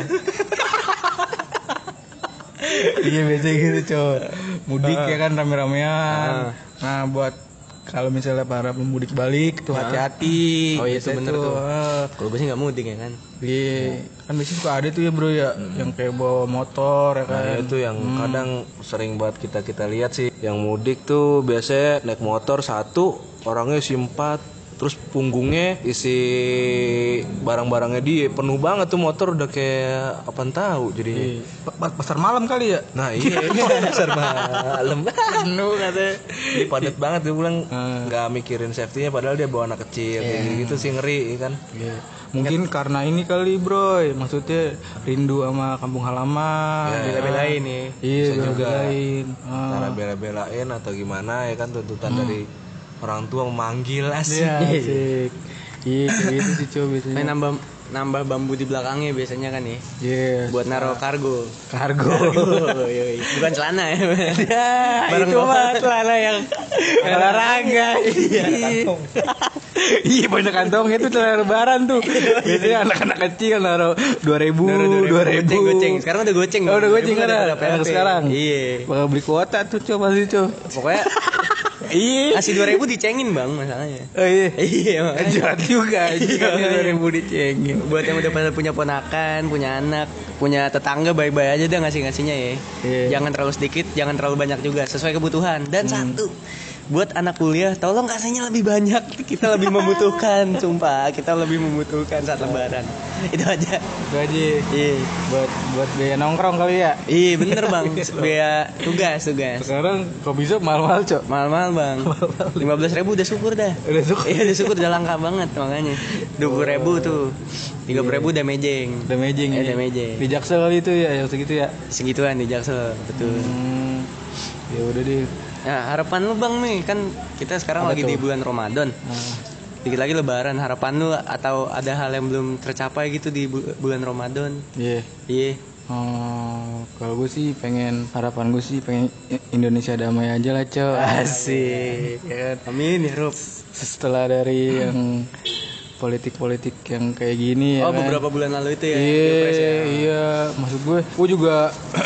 Speaker 1: Iya biasanya gitu cowok Mudik ya kan rame-ramean Nah buat kalau misalnya para pemudik balik tuh hati-hati
Speaker 2: Oh, iya,
Speaker 1: Biasanya
Speaker 2: itu bener tuh.
Speaker 1: eh,
Speaker 2: Kalau gue sih nggak mudik ya kan.
Speaker 1: Iya Kan biasanya suka ada tuh ya bro ya Yang kayak bawa motor ya kan
Speaker 3: Nah, itu yang
Speaker 2: Hmm.
Speaker 3: kadang sering banget kita kita lihat sih. Yang mudik tuh biasanya naik motor satu, orangnya isi empat, terus punggungnya isi barang-barangnya dia penuh banget tuh motor udah kayak apa tahu
Speaker 2: Iya.
Speaker 3: jadinya.
Speaker 1: Pa- Pasar malam kali ya
Speaker 3: Nah iya, pasar malam.
Speaker 1: Penuh katanya
Speaker 3: Jadi padat banget dia bilang nggak mikirin safety-nya padahal dia bawa anak kecil kayak gitu sih ngeri ya kan.
Speaker 1: Iya. Mungkin karena ini kali bro ya, Maksudnya rindu sama kampung halaman ya kan?
Speaker 2: Bela-belain nih.
Speaker 1: Iya Ah, juga Nah, lain
Speaker 3: Cara bela-belain atau gimana ya kan tuntutan dari orang tua memanggil asik.
Speaker 1: Iya asik. Iya kayak gitu sih cowok biasanya
Speaker 2: Main nambah nambah bambu di belakangnya biasanya kan nih.
Speaker 1: Iya
Speaker 2: Buat naruh kargo.
Speaker 1: Kargo.
Speaker 2: Oh, yoi. Bukan celana ya. Bareng
Speaker 1: itu mah
Speaker 2: celana yang olahraga.
Speaker 1: Iya. Iya banyak kantong itu celana lebaran tuh. Biasanya anak-anak kecil naruh 2000, 2000.
Speaker 2: Goceng, goceng. Sekarang udah goceng.
Speaker 1: Oh, udah goceng kan?
Speaker 2: Udah ada
Speaker 1: Yang
Speaker 2: PLP.
Speaker 1: sekarang.
Speaker 2: Iya.
Speaker 1: Bakal beli kuota tuh coba pasti tuh.
Speaker 2: Pokoknya
Speaker 1: Iya.
Speaker 2: kasih 2000 dicengin, Bang, masalahnya.
Speaker 1: Oh, iya.
Speaker 2: Iya, makanya.
Speaker 1: Jahat juga anjing
Speaker 2: Iya,
Speaker 1: kalau
Speaker 2: iya.
Speaker 1: 2000 dicengin.
Speaker 2: buat yang udah pada punya ponakan, punya anak, punya tetangga baik-baik aja dah ngasih-ngasihnya ya.
Speaker 1: Iya.
Speaker 2: Jangan terlalu sedikit, jangan terlalu banyak juga, sesuai kebutuhan. Dan satu, buat anak kuliah tolong kasihnya lebih banyak kita lebih membutuhkan sumpah kita lebih membutuhkan saat lebaran itu aja
Speaker 1: gaji
Speaker 2: iya
Speaker 1: buat buat biaya nongkrong kali ya
Speaker 2: iya bener bang biaya tugas tugas
Speaker 1: sekarang kok bisa mahal-mahal cok
Speaker 2: mahal-mahal bang 15.000 ribu udah syukur dah
Speaker 1: udah suka
Speaker 2: iya udah syukur udah langka banget makanya 20.000 ribu tuh 30.000 ribu udah mejeng
Speaker 1: udah mejeng
Speaker 2: Eh,
Speaker 1: ya
Speaker 2: udah mejeng.
Speaker 1: di jaksel kali itu ya yang segitu ya
Speaker 2: segituan di jaksel betul
Speaker 1: hmm, ya udah deh
Speaker 2: Nah, harapan lu bang nih kan kita sekarang lagi di bulan Ramadan.
Speaker 1: Hmm.
Speaker 2: Dikit lagi Lebaran. Harapan lu atau ada hal yang belum tercapai gitu di bu- bulan Ramadan?
Speaker 1: iya
Speaker 2: Iya.
Speaker 1: Oh, kalau gue sih pengen harapan gue sih pengen I- Indonesia damai aja lah cok
Speaker 2: Asik. Amin ya Rob.
Speaker 1: setelah dari yang politik-politik yang kayak gini ya
Speaker 2: Oh
Speaker 1: kan.
Speaker 2: beberapa bulan lalu itu ya. Pilpres ya?
Speaker 1: Iya, iya. Maksud gue, gue juga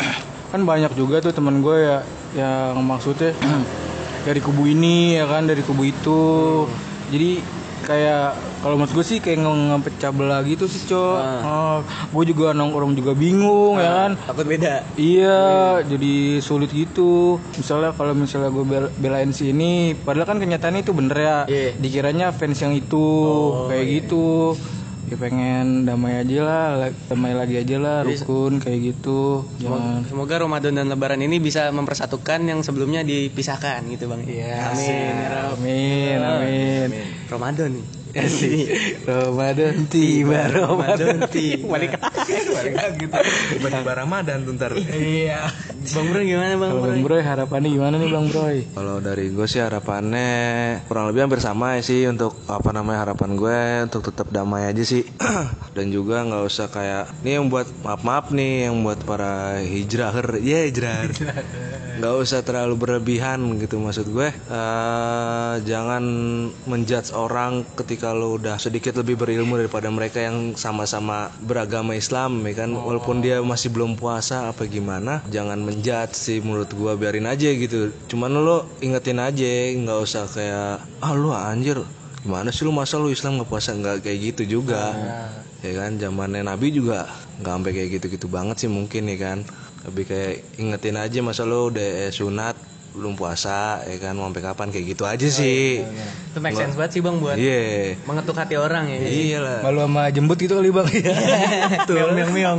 Speaker 1: kan banyak juga tuh teman gue ya yang maksudnya dari kubu ini ya kan, dari kubu itu. Jadi kayak kalau menurut gue sih kayak nge- ngepecah belah gitu sih, Cok.
Speaker 2: Ah.
Speaker 1: Oh, gue juga nongkrong juga bingung ya kan.
Speaker 2: Takut beda.
Speaker 1: Iya, jadi sulit gitu. Misalnya kalau misalnya gue bel- belain si ini, padahal kan kenyataannya itu bener ya.
Speaker 2: Iya.
Speaker 1: Dikiranya fans yang itu kayak gitu. Ya pengen damai aja lah, la- damai lagi aja lah, rukun kayak gitu. Jangan.
Speaker 2: Semoga Ramadan dan Lebaran ini bisa mempersatukan yang sebelumnya dipisahkan gitu bang. Iya. Amin ya Rob.
Speaker 1: Amin, amin.
Speaker 2: Ramadan nih.
Speaker 1: Ramadan tiba,
Speaker 2: Ramadan tiba.
Speaker 3: Tiba-tiba Ramadan tuh ntar.
Speaker 2: Bang Bro gimana bang?
Speaker 1: Kalau
Speaker 2: Bro?
Speaker 1: Bang Broy harapannya gimana nih Bang Broy?
Speaker 3: Kalau dari gue sih harapannya kurang lebih hampir sama ya sih untuk apa namanya harapan gue untuk tetap damai aja sih dan juga nggak usah kayak ini yang buat maaf maaf nih yang buat para hijraher ya hijraher nggak usah terlalu berlebihan gitu maksud gue eh, jangan menjudge orang ketika lo udah sedikit lebih berilmu daripada mereka yang sama-sama beragama Islam ya kan walaupun dia masih belum puasa apa gimana jangan menjudge sih menurut gua biarin aja gitu cuman lo ingetin aja nggak usah kayak ah lo anjir gimana sih lu masa lu Islam nggak puasa nggak kayak gitu juga ya kan zamannya Nabi juga nggak sampai kayak gitu-gitu banget sih mungkin ya kan lebih kayak ingetin aja masa lo udah eh, sunat belum puasa ya kan mau sampai kapan kayak gitu aja sih
Speaker 2: Itu make sense banget sih bang buat
Speaker 3: iya
Speaker 2: mengetuk hati orang ya.
Speaker 3: iyalah
Speaker 1: Malu sama jembut gitu kali Bang.
Speaker 2: Miong miong miong.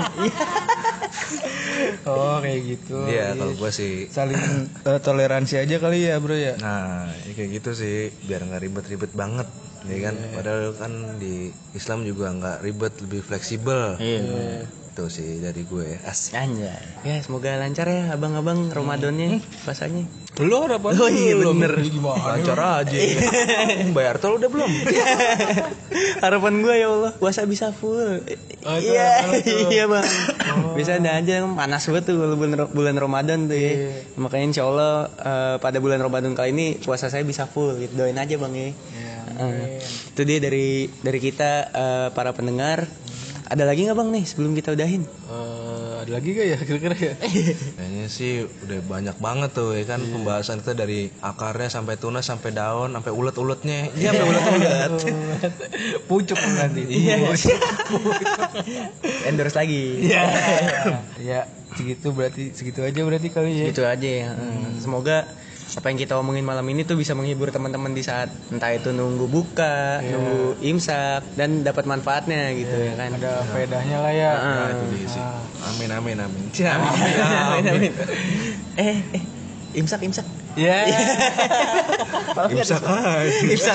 Speaker 1: oh, kayak gitu.
Speaker 3: iya kalau gua sih
Speaker 1: Saling eh, toleransi aja kali ya, Bro ya.
Speaker 3: Nah, ya kayak gitu sih, biar nggak ribet-ribet banget, ya kan? Padahal kan di Islam juga nggak ribet, lebih fleksibel. Iya. Itu sih dari gue. Asik.
Speaker 2: Anjay. Ya semoga lancar ya abang-abang Ramadannya puasanya.
Speaker 1: Lu harapan
Speaker 2: Oh iya bener.
Speaker 3: Lancar aja. Bayar tol udah belum?
Speaker 2: Harapan gue ya Allah puasa bisa full. Iya iya bang. Bisa ada aja panas banget tuh kalau bulan bulan Ramadan tuh ya. Makanya insya Allah eh, pada bulan Ramadan kali ini puasa saya bisa full. Gitu. Doain aja bang ya.
Speaker 1: Iya,
Speaker 2: Eh, itu dia dari dari kita eh, para pendengar. Ada lagi nggak bang nih sebelum kita udahin?
Speaker 1: Eh, ada lagi gak ya kira-kira ya?
Speaker 3: Kayaknya sih udah banyak banget tuh, ya kan? Pembahasan kita dari akarnya sampai tunas, sampai daun, sampai ulet-uletnya. Iya, sampai ulet-ulet.
Speaker 1: Pucuk nanti.
Speaker 2: Iya. Endorse lagi.
Speaker 1: ya segitu berarti segitu aja berarti kali ya.
Speaker 2: gitu aja ya semoga apa yang kita omongin malam ini tuh bisa menghibur teman-teman di saat entah itu nunggu buka nunggu imsak dan dapat manfaatnya gitu ya kan
Speaker 1: Ada faedahnya lah ya.
Speaker 3: Nah, itu dia sih. Amin, amin, amin. Iya.
Speaker 2: Amin, amin. eh eh imsak imsak
Speaker 1: Ya.
Speaker 3: Imsak aja. Iya.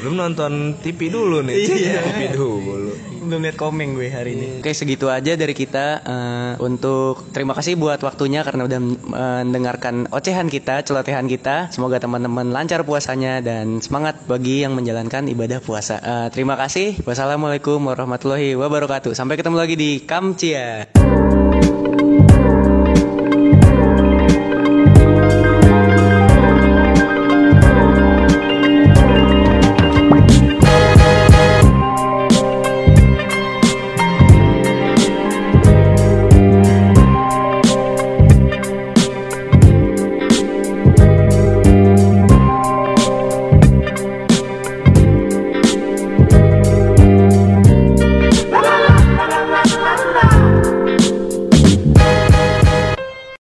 Speaker 3: Belum nonton TV dulu nih. TV dulu.
Speaker 2: belum lihat komeng gue hari ini oke segitu aja dari kita eh, untuk terima kasih buat waktunya karena udah eh, mendengarkan ocehan kita celotehan kita semoga teman-teman lancar puasanya dan semangat bagi yang menjalankan ibadah puasa Eh, terima kasih wassalamualaikum warahmatullahi wabarakatuh sampai ketemu lagi di Kamcia